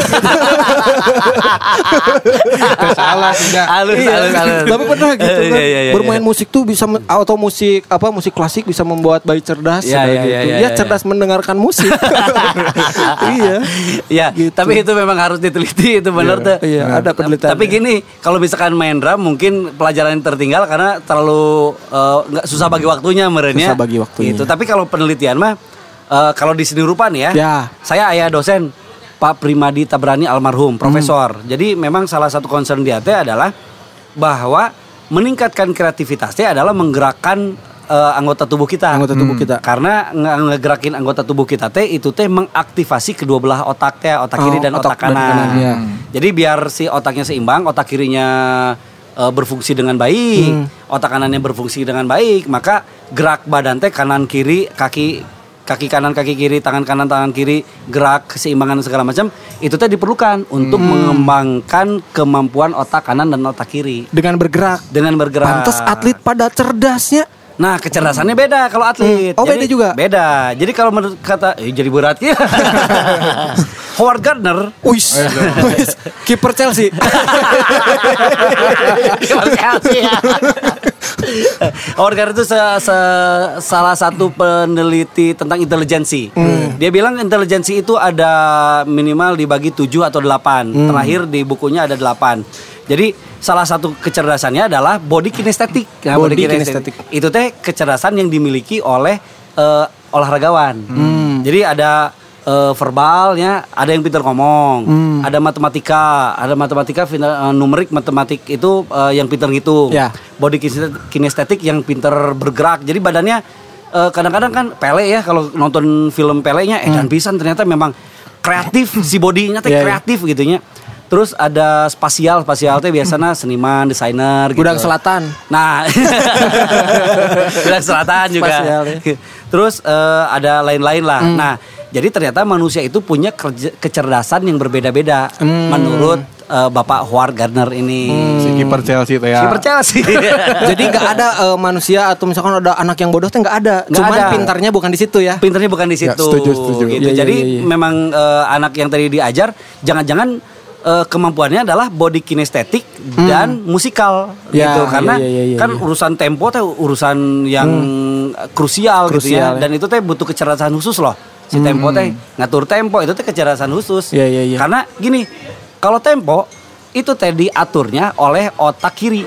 S2: Salah tidak.
S1: Halus
S3: Iya.
S1: halus halus.
S3: Tapi pernah gitu kan.
S1: Iya, iya, iya,
S3: bermain
S1: iya.
S3: musik tuh bisa men- atau musik apa musik klasik bisa membuat bayi cerdas
S1: Iya,
S3: katanya
S1: iya,
S3: gitu.
S1: iya,
S3: Ya,
S1: iya, iya.
S3: cerdas mendengarkan musik. iya.
S1: Iya,
S3: Gitu.
S1: tapi itu memang harus diteliti itu benar tuh. Nah,
S3: Iya, ada penelitian.
S1: Tapi gini, kalau misalkan main drum mungkin pelajaran yang tertinggal karena terlalu eh, nggak susah bagi waktunya merenya.
S3: Susah bagi waktunya.
S1: Gitu. Tapi kalau penelitian mah eh, kalau di seni rupa nih ya.
S3: Ya.
S1: Saya ayah dosen Pak Primadi Tabrani almarhum,
S3: Hmm.
S1: profesor. Jadi memang salah satu concern dia teh adalah bahwa meningkatkan kreativitasnya adalah menggerakkan eh, anggota tubuh kita. Hmm.
S3: Anggota tubuh kita.
S1: Karena nge- ngegerakin anggota tubuh kita teh itu teh mengaktifasi kedua belah otak teh, otak
S3: Oh,
S1: kiri dan
S3: otak
S1: otak, kanan.
S3: dan kanan, iya.
S1: Jadi biar si otaknya seimbang, otak kirinya eh, berfungsi dengan baik,
S3: Hmm.
S1: otak kanannya berfungsi dengan baik, maka gerak badan teh kanan kiri, kaki kaki kanan kaki kiri, tangan kanan tangan kiri, gerak keseimbangan segala macam itu teh diperlukan untuk
S3: Hmm.
S1: mengembangkan kemampuan otak kanan dan otak kiri
S3: Dengan bergerak.
S1: dengan bergerak.
S3: Pantes atlet pada cerdasnya.
S1: Nah, kecerdasannya beda kalau atlet.
S3: Hmm. Oh, beda
S1: Jadi-
S3: juga?
S1: Beda. Jadi kalau menurut kata eh, jadi berat ya. Howard Gardner
S3: Wis. Wis. Kiper Chelsea.
S1: Gitu. Howard Gardner itu se- se- salah satu peneliti tentang intelijensi. Dia bilang intelijensi itu ada minimal dibagi 7 atau 8. Terakhir di bukunya ada 8. Jadi salah satu kecerdasannya adalah body kinesthetic.
S3: Body
S1: kinesthetic. Itu teh kecerdasan yang dimiliki oleh eh, olahragawan.
S3: Hmm.
S1: Jadi ada eh, verbalnya, ada yang pintar ngomong,
S3: Hmm.
S1: ada matematika, ada matematika fina- eh, numerik matematik itu eh, yang pintar ngitung.
S3: Ya.
S1: Body kinest- kinestetik yang pintar bergerak. Jadi badannya eh, kadang-kadang kan pele ya kalau nonton film pelenya
S3: Hmm.
S1: eh dan pisan ternyata memang kreatif si bodinya teh
S3: Iya, iya.
S1: kreatif gitunya. Terus ada spasial, spasial teh biasanya seniman, desainer gitu.
S3: Gudang Selatan.
S1: Nah, Bilang selatan juga.
S3: Spasial, ya.
S1: Terus eh, ada lain-lain lah. Nah, jadi ternyata manusia itu punya kerja- kecerdasan yang berbeda-beda menurut eh, eh, Bapak Howard Gardner ini.
S2: Si kiper Chelsea teh ya.
S1: Kiper Chelsea.
S3: Jadi nggak ada eh, manusia atau misalkan ada anak yang bodoh teh nggak ada.
S1: Nggak
S3: Cuman
S1: ada.
S3: pintarnya bukan di situ ya.
S1: Pinternya bukan di situ.
S2: Ya, setuju, setuju.
S1: gitu.
S3: Iya, iya,
S1: Jadi
S3: iya, iya.
S1: memang eh, anak yang tadi diajar jangan-jangan eh, kemampuannya adalah body kinestetik dan musikal
S3: Hmm. Ya,
S1: gitu
S3: iya,
S1: karena
S3: iya, iya, iya,
S1: kan
S3: iya.
S1: urusan tempo teh urusan yang krusial, gitu
S3: Krusial,
S1: ya
S3: ya. Hmm.
S1: dan itu teh butuh kecerdasan khusus loh. Si tempo teh ngatur tempo itu teh kecerdasan khusus.
S3: Iya, iya, iya.
S1: Karena gini, kalau tempo itu teh diaturnya oleh otak kiri.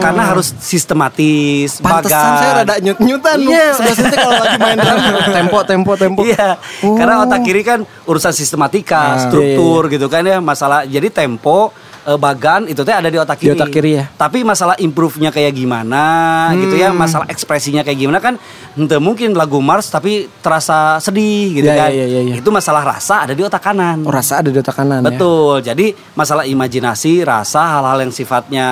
S1: Karena harus sistematis,
S3: Oh. Pantesan
S1: bagan.
S3: saya rada nyut-nyutan.
S1: Iya.
S3: Biasanya kalau lagi main drum tempo tempo tempo.
S1: Iya,
S3: Oh. Nah, iya,
S1: karena otak kiri kan urusan sistematika, struktur gitu kan ya masalah. Jadi tempo, eh, bagan itu teh ada di otak
S3: Di
S1: kiri.
S3: otak kiri ya. Hmm.
S1: Tapi masalah improve-nya kayak gimana gitu ya, masalah ekspresinya kayak gimana kan ente mungkin lagu Mars tapi terasa sedih gitu
S3: Iya,
S1: kan.
S3: iya, iya, iya.
S1: Itu masalah rasa ada di otak kanan.
S3: Oh, rasa ada di otak kanan ya.
S1: Betul. Jadi masalah imajinasi, rasa, hal-hal yang sifatnya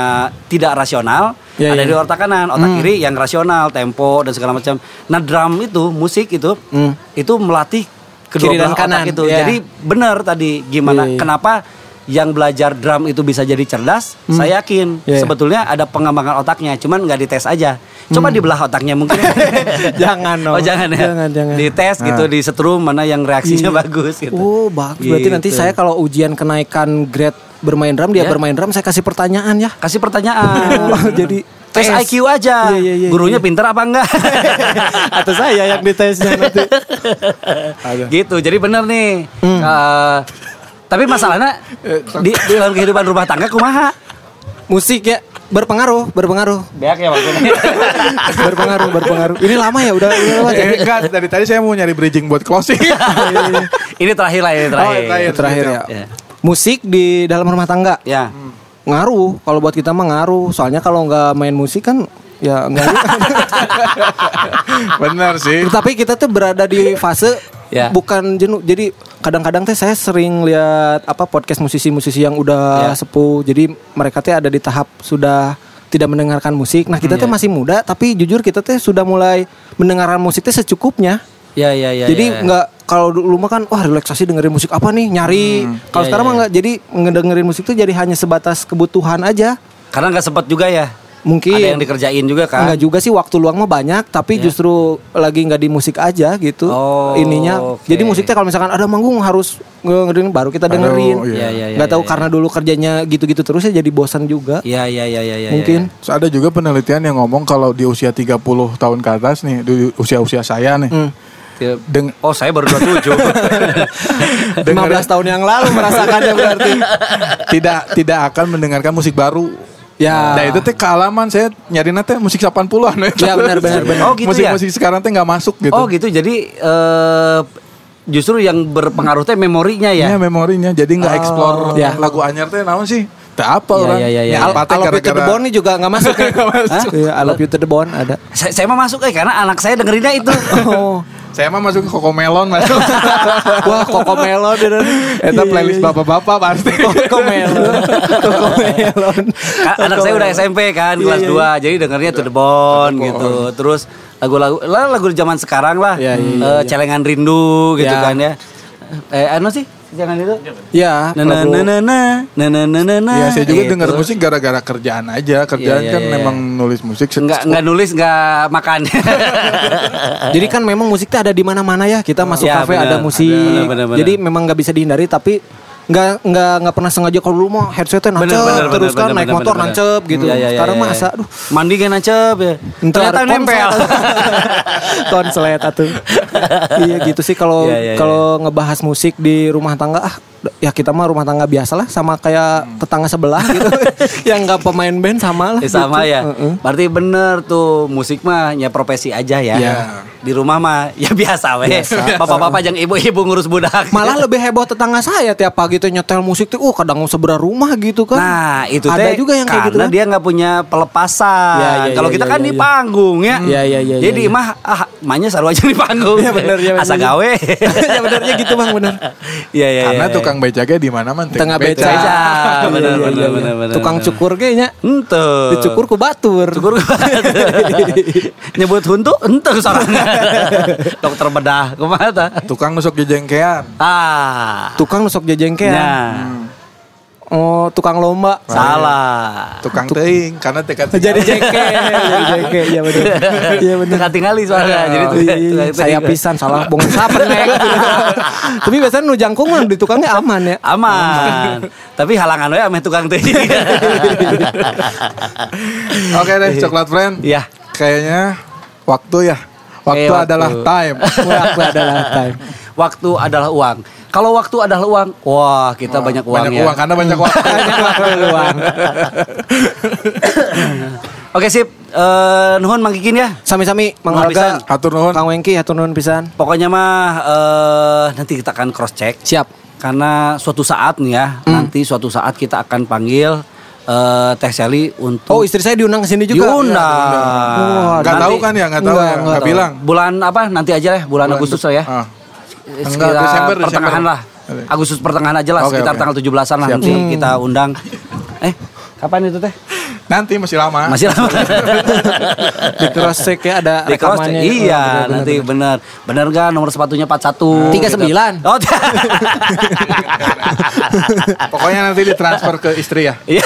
S1: tidak rasional
S3: Ya,
S1: ada
S3: ya.
S1: di otak kanan, otak kiri yang rasional, tempo dan segala macam. Nah, drum itu, musik itu
S3: Hmm.
S1: itu melatih kedua
S3: Kiri
S1: belah
S3: dan
S1: otak
S3: kanan,
S1: itu.
S3: ya.
S1: Jadi benar tadi gimana
S3: Ya, ya.
S1: kenapa yang belajar drum itu bisa jadi cerdas, saya yakin
S3: Ya, ya.
S1: sebetulnya ada pengembangan otaknya, cuman nggak dites aja. Coba dibelah otaknya mungkin.
S3: Hmm. Jangan dong.
S1: Oh jangan ya.
S3: Jangan, jangan. Ah.
S1: Dites gitu, disetrum mana yang reaksinya bagus gitu.
S3: Oh, bagus. Berarti nanti
S1: Gitu.
S3: saya kalau ujian kenaikan grade bermain drum, dia
S1: Ya.
S3: bermain drum, saya kasih pertanyaan ya.
S1: kasih pertanyaan.
S3: Oh, jadi
S1: tes
S3: tes.
S1: IQ aja.
S3: Iya, iya, iya,
S1: Gurunya pinter apa enggak?
S3: Atau saya yang ditesnya nanti.
S1: gitu. Jadi bener nih.
S3: Hmm.
S1: Eh, tapi masalahnya
S3: Eh,
S1: di, di dalam kehidupan rumah tangga kumaha?
S3: Musik ya berpengaruh, berpengaruh.
S1: Beak ya
S3: berpengaruh, berpengaruh. Ini lama ya, udah ini lama ya.
S2: Eh, enggak, dari tadi saya mau nyari bridging buat closing.
S1: ini terakhir lah ini terakhir.
S2: Oh, terakhir.
S3: Terakhir ya.
S1: Iya.
S3: Musik di dalam rumah tangga.
S1: Ya.
S3: ngaruh kalau buat kita mah ngaruh soalnya kalau nggak main musik kan ya nggak
S2: Benar sih.
S3: Eh, tapi kita tuh berada di fase
S1: Ya.
S3: bukan jenuh jadi kadang-kadang teh saya sering lihat apa podcast musisi-musisi yang
S1: Ya.
S3: udah sepuh jadi mereka teh ada di tahap sudah tidak mendengarkan musik nah
S1: Hmm,
S3: kita teh
S1: ya.
S3: masih muda tapi jujur kita teh sudah mulai mendengarkan musik teh secukupnya
S1: Ya ya ya. ya.
S3: jadi nggak kalau dulu mah kan wah relaksasi dengerin musik apa nih nyari kalau
S1: Ya,
S3: sekarang
S1: ya,
S3: mah nggak jadi ngedengerin musik tuh jadi hanya sebatas kebutuhan aja
S1: karena nggak sempat juga ya.
S3: mungkin
S1: Ada yang dikerjain juga kan. Ya.
S3: Enggak juga sih waktu luang mah banyak tapi justru lagi nggak di musik aja gitu
S1: Oh,
S3: ininya
S1: oke.
S3: jadi musiknya kalau misalkan ada manggung harus nge- ngedengerin baru kita
S2: Baru,
S3: dengerin
S2: iya.
S1: Iya, iya, iya,
S3: nggak tahu
S1: iya,
S3: karena dulu kerjanya gitu-gitu terus ya jadi bosan juga
S1: Ya ya ya ya ya.
S3: mungkin
S2: Terus ada juga penelitian yang ngomong kalau di usia 30 tahun ke atas nih, di usia-usia saya nih.
S1: ya.
S2: deng-
S1: Oh saya baru 27
S3: Gitu.
S1: iya.
S2: dengerin-
S3: 15 tahun yang lalu merasakannya berarti
S2: tidak tidak akan mendengarkan musik baru.
S3: Ya.
S2: Nah itu teh kealaman saya nyari teh musik 80-an.
S3: Ya, benar, benar, benar.
S1: Oh, gitu
S2: musik,
S1: ya?
S2: Musik sekarang teh nggak masuk gitu.
S1: Oh gitu. Jadi eh justru yang berpengaruh teh memorinya
S2: Ya,
S1: ya.
S2: Oh,
S3: Iya,
S2: memorinya jadi nggak explore
S3: Ya.
S2: lagu anyar teh naon sih? Teh apa
S1: Ya,
S2: orang?
S1: ya, ya, ya.
S2: Apa
S3: Al-
S2: teh
S3: I Love You to the
S2: gara-gara-
S3: Bone ini juga nggak masuk ya Hah? Iya, I Love You to the Bone ada
S1: Saya, saya mau masuk eh karena anak saya dengerinnya itu.
S3: oh
S2: Saya mah masuk ke Kokomelon masuk.
S3: wah Coco Melon Iya,
S2: Eta playlist bapak-bapak pasti.
S3: Coco Melon Coco Melon
S1: Ka- anak saya
S3: Iya,
S1: udah SMP kan kelas 2. Jadi dengernya To The Bone gitu. Terus lagu-lagu lah, lagu zaman sekarang lah.
S3: Ya, iya,
S1: Eh, Celengan Rindu gitu
S3: Ya.
S1: kan ya. Eh anu sih? Jangan itu.
S3: ya
S1: Na na na na na na na na na na.
S2: Iya, saya juga
S1: Gitu.
S2: denger musik gara-gara kerjaan aja.
S1: Iya,
S2: Kerjaan
S1: iya,
S2: kan
S1: iya.
S2: memang nulis musik. se-
S1: Nggak, nggak nulis, nggak makan.
S3: Jadi kan memang musik teh ada di mana-mana ya. Kita masuk
S1: Eh, Ya,
S3: kafe
S1: benar.
S3: ada musik.
S1: Ada. Benar, benar,
S3: Jadi
S1: benar.
S3: memang nggak bisa dihindari tapi nggak nggak nggak pernah sengaja kalau dulu mah
S1: Bener,
S3: headsetnya nancep
S1: bener, bener,
S3: terus kan
S1: bener,
S3: naik
S1: bener,
S3: motor
S1: bener.
S3: nancep gitu.
S1: Iya, iya, iya,
S3: Sekarang
S1: iya,
S3: mah
S1: iya.
S3: asa aduh
S1: Mandi kan nancep ya.
S3: entar
S1: Ternyata
S3: ada
S1: nempel.
S3: konslet. Konslet atuh. iya gitu sih kalau
S1: Iya, iya,
S3: kalau ngebahas musik di rumah tangga ah ya kita mah rumah tangga biasa lah sama kayak tetangga sebelah gitu yang nggak pemain band sama lah
S1: Eh, sama Hmm.
S3: gitu.
S1: ya.
S3: Heeh.
S1: Berarti bener tuh musik mah ya profesi aja ya.
S2: Iya.
S1: Di rumah mah ya biasa weh.
S3: Biasa.
S1: Bapak-bapak yang ibu-ibu ngurus budak.
S3: Malah lebih heboh tetangga saya tiap pagi tuh nyetel musik tuh, oh kadang seberang rumah gitu kan.
S1: Nah itu
S3: ada
S1: teh
S3: juga yang
S1: karena
S3: kayak gitu. Kan?
S1: dia nggak punya pelepasan.
S3: Ya, ya,
S1: Kalau
S3: ya,
S1: kita
S3: ya,
S1: kan
S3: ya,
S1: di
S3: ya.
S1: panggung ya.
S3: Ya, ya, ya,
S1: Jadi
S3: ya, ya.
S1: mah ah, mahnya saru aja di panggung.
S3: Ya, bener, ya, bener.
S1: Asa gawe.
S3: ya benernya gitu bang bener.
S1: Iya iya.
S2: Karena
S1: ya,
S2: tukang becaknya di mana mana
S3: Tengah beca.
S1: beca. Bener,
S3: Iya, iya,
S1: bener,
S3: iya.
S1: bener, bener,
S3: Tukang
S1: bener.
S3: cukur kayaknya.
S1: Ente.
S3: Dicukur ku batur.
S1: Cukur. Nyebut huntu ente salah. Dokter bedah kemana ta?
S2: Tukang nusuk jejengkean.
S1: Ah.
S3: Iya. Hmm. Tukang nusuk jejengkean.
S1: Nah.
S3: oh tukang lomba
S1: Salah.
S2: Tukang teing karena tekat
S3: jadi
S1: Iya.
S3: JK jadi JK ya benar iya benar
S1: Tengah tinggali soalnya. ya, Jadi tuh- tuh-
S3: iya. saya
S1: tuh-
S3: pisan salah bong sapen Neng. tapi biasanya nu jangkung mah di tukangnya aman ya
S1: aman. Tapi halangan we ame tukang teh.
S2: Oke deh, coklat friend.
S1: Iya.
S2: Kayaknya waktu ya. Waktu
S1: Kayak waktu.
S2: adalah time.
S3: Waktu adalah time.
S1: waktu adalah uang. Kalau waktu adalah uang, wah kita banyak uang
S2: Banyak
S1: ya.
S2: uang karena banyak waktu.
S3: Banyak waktu luang.
S1: Oke sip, Eh, nuhun mangkikin ya.
S3: Sami-sami Mang
S1: Nuhun pisan.
S3: Alga,
S2: Hatur nuhun.
S3: Kang Wengki hatur nuhun pisan.
S1: Pokoknya mah eh, nanti kita akan cross check
S3: Siap.
S1: karena suatu saat nih ya,
S2: Hmm.
S1: nanti suatu saat kita akan panggil eh, Teh Sally untuk
S3: Oh, istri saya diundang ke sini
S2: Iya,
S3: juga. Ya,
S1: diundang.
S3: Wah,
S2: Gak
S1: Nanti
S2: tahu kan ya, gak tahu
S3: Enggak,
S2: ya,
S3: enggak
S2: gak
S3: tahu.
S2: bilang.
S1: Bulan apa nanti aja lah, bulan, Agustus lah ya.
S2: Ah.
S1: Sekitar
S2: Enggak, Desember,
S1: pertengahan
S2: Desember.
S1: lah. Agustus pertengahan aja lah
S2: Oke,
S1: sekitar
S2: oke.
S1: tanggal 17-an lah
S2: Siap, Hmm.
S1: nanti kita undang. Eh, kapan itu teh?
S2: Nanti masih lama.
S1: Masih lama.
S3: Di cross check ya ada
S1: Di cross
S3: rekamannya.
S1: Iya,
S3: Oh, benar,
S1: nanti
S3: benar.
S1: bener. Bener gak nomor sepatunya
S2: Nah,
S1: 41?
S2: gitu.
S3: 39.
S1: Oh,
S2: Pokoknya nanti ditransfer ke istri ya.
S1: Iya,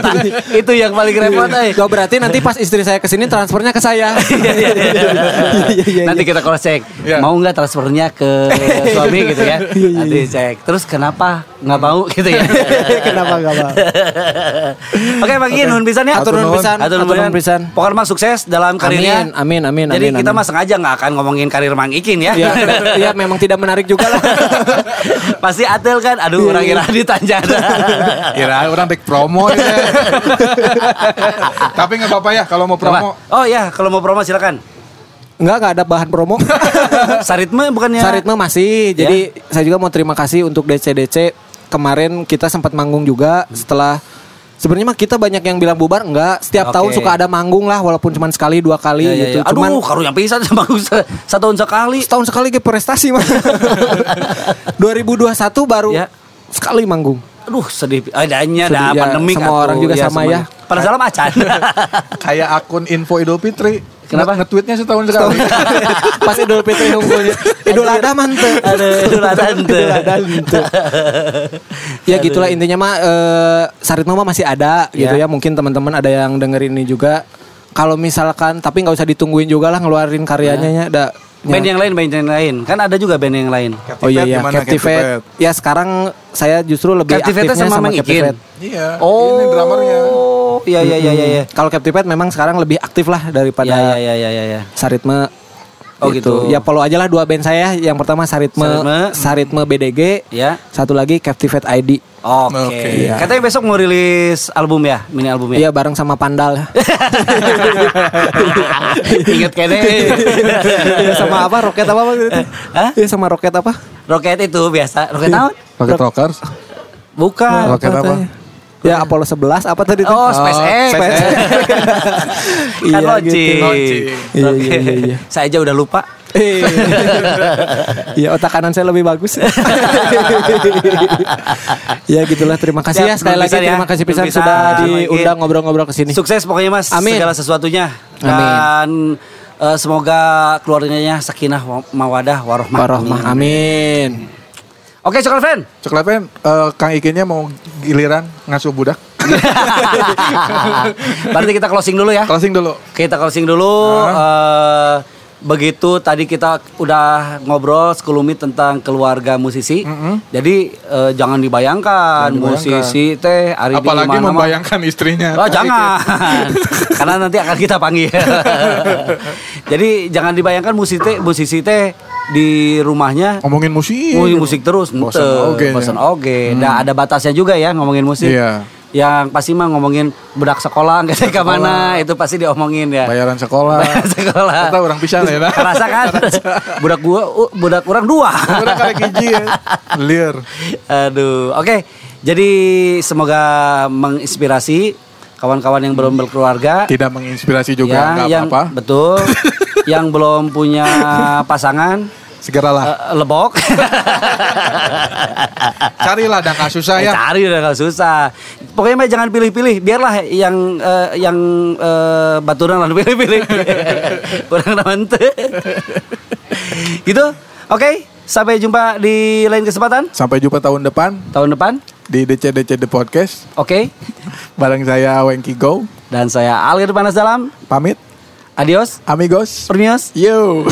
S1: eta. itu yang paling repot. eh.
S3: Gak berarti nanti pas istri saya kesini transfernya ke saya.
S1: Iya, iya, iya.
S3: Iya, iya,
S1: Nanti kita cross check.
S2: Iya.
S1: Mau nggak transfernya ke suami gitu ya?
S3: Iya,
S1: Nanti cek. Terus kenapa nggak mau
S3: Hmm.
S1: gitu ya?
S3: Kenapa gak mau?
S1: Oke, Bang Iin, nuhun pisan ya.
S3: Hatur nuhun pisan,
S1: Hatur
S3: hatur
S1: nuhun
S3: nuhun
S1: pisan.
S3: pisan.
S1: Pokoknya mah sukses dalam karirnya.
S3: Amin, amin, amin,
S1: Jadi
S3: amin,
S1: kita
S3: amin.
S1: mah sengaja nggak akan ngomongin karir Mang Ikin ya.
S3: Iya, iya memang tidak menarik juga lah.
S1: Pasti atel kan.
S3: Iya,
S1: Aduh, orang kira ditanjana.
S2: Kira orang take promo gitu ya. Tapi nggak apa-apa ya kalau mau promo.
S1: Apa? Oh ya, kalau mau promo silakan.
S3: Enggak, enggak ada bahan promo.
S1: Saritme bukannya
S3: Saritme masih.
S1: Ya.
S3: Jadi saya juga mau terima kasih untuk DCDC. Kemarin kita sempat manggung juga setelah Sebenarnya mah kita banyak yang bilang bubar enggak. Setiap
S1: Oke.
S3: tahun suka ada manggung lah walaupun cuma sekali dua kali
S1: Iya, iya,
S3: gitu.
S1: iya. Aduh,
S3: Cuman
S1: karu yang pisan sama aku se- setahun sekali.
S3: setahun sekali ke prestasi mah. 2021 baru
S1: Ya.
S3: sekali manggung.
S1: Aduh, sedih. Adanya
S3: Sedih,
S1: ada
S3: ya.
S1: pandemi
S3: Semua orang juga sama ya.
S1: Pada salam acan.
S2: Kayak akun info Idul Fitri.
S1: Kenapa?
S2: Nge- Nge-tweetnya setahun sekali.
S3: Pas Idul Fitri nunggunya. Idul Adha mantep.
S1: Aduh, Idul Adha henteu.
S3: Idul Adha henteu. Ya gitulah intinya mah eh, Saritma mah masih ada gitu
S1: Ya.
S3: ya. Mungkin teman-teman ada yang dengerin ini juga. Kalau misalkan tapi nggak usah ditungguin juga lah ngeluarin karyanya ya. Da, ya.
S1: Band yang lain, band yang lain. Kan ada juga band yang lain.
S3: Oh iya iya
S2: Gimana,
S3: Captivate. Ya sekarang saya justru lebih
S1: Captivate-nya
S3: aktifnya sama,
S1: sama Mang Ikin.
S3: Captivate.
S2: Iya.
S1: Oh.
S2: Ini dramernya.
S1: Iya, iya, iya, iya, iya.
S3: Hmm. Kalau Captivate memang sekarang lebih aktif lah
S1: Iya,
S3: daripada
S1: iya, iya, iya, iya.
S3: Saritme
S1: Oh, gitu.
S3: Ya follow aja lah dua band saya Yang pertama Saritme
S1: Saritme.
S3: Saritme, BDG
S1: Ya.
S3: Satu lagi Captivate ID
S1: Oke.
S2: Oke,
S1: Iya. Katanya besok mau rilis album ya, mini album ya.
S3: Iya bareng sama Pandal
S1: Ingat kene.
S3: Iya sama apa Roket apa waktu itu
S1: Hah?
S3: Iya sama Roket apa
S1: Roket itu biasa, roket tahun.
S2: Rocket Rockers.
S1: Bukan.
S2: Roket apa?
S3: Katanya. Ya Apollo 11 apa tadi tuh?
S1: Oh, SpaceX.
S3: SpaceX.
S1: kan
S3: Iya,
S1: launching.
S3: gitu.
S2: Launching.
S3: Iya,
S1: Oke.
S3: iya, iya, iya.
S1: Saya aja udah lupa.
S3: Eh. Iya otak kanan saya lebih bagus. ya gitulah terima kasih
S1: Siap,
S3: ya Iya. sekali
S1: belum
S3: lagi
S1: pisan ya.
S3: terima kasih
S1: Belum
S3: pisan
S1: pisan.
S3: sudah
S1: Oke.
S3: diundang ngobrol-ngobrol ke sini.
S1: Sukses pokoknya Mas
S3: Amin.
S1: segala sesuatunya. Dan
S3: Amin.
S1: eh, semoga keluarganya sakinah wa- mawadah warohmah.
S3: Warohmah amin.
S1: Oke, Coklat Friend.
S2: Coklat friend, eh, Kang Ikinnya mau giliran ngasuh budak.
S1: Berarti kita closing dulu ya.
S2: Closing dulu.
S1: Kita closing dulu.
S3: Ah.
S1: Eh, begitu tadi kita udah ngobrol sekelumit tentang keluarga musisi. Jadi eh, jangan dibayangkan musisi teh hari di
S2: Apalagi
S1: mana-mana.
S2: membayangkan istrinya.
S1: Oh jangan, karena nanti akan kita panggil. Jadi jangan dibayangkan musisi teh, musisi teh di rumahnya
S2: Ngomongin musik.
S1: ngomongin Oh, iya, musik terus, ente,
S2: Bosan Oh, iya. oge nya. Hmm.
S1: bosan oge. Nah, ada batasnya juga ya ngomongin musik.
S2: Iya.
S1: Yang pasti mah ngomongin budak sekolah, kayak ke mana itu pasti diomongin ya.
S2: Bayaran sekolah.
S1: Bayar sekolah.
S2: Kita orang pisan ya. nah.
S1: Kerasa kan? budak gua, u- budak orang dua.
S2: Orang kayak hiji ya. Liar.
S1: Aduh, oke. Jadi semoga menginspirasi kawan-kawan yang belum berkeluarga.
S2: Tidak menginspirasi juga
S1: Ya,
S2: nggak
S1: yang
S2: apa-apa.
S1: betul, yang belum punya pasangan
S2: Segeralah
S1: eh, lebok.
S2: carilah ya. dan kasus
S1: Eh,
S2: saya.
S1: cari udah kalau susah. Pokoknya mah jangan pilih-pilih, biarlah yang eh, yang eh, baturan lalu pilih-pilih. Kurang namanya. gitu. Oke, sampai jumpa di lain kesempatan
S2: Sampai jumpa tahun depan.
S1: tahun depan.
S2: di DCDCD Podcast
S1: Oke.
S2: bareng saya Wengki Go.
S1: Dan saya Alir Panas Dalam.
S2: Pamit,
S1: Adios.
S2: amigos.
S1: Permios.
S2: Yo.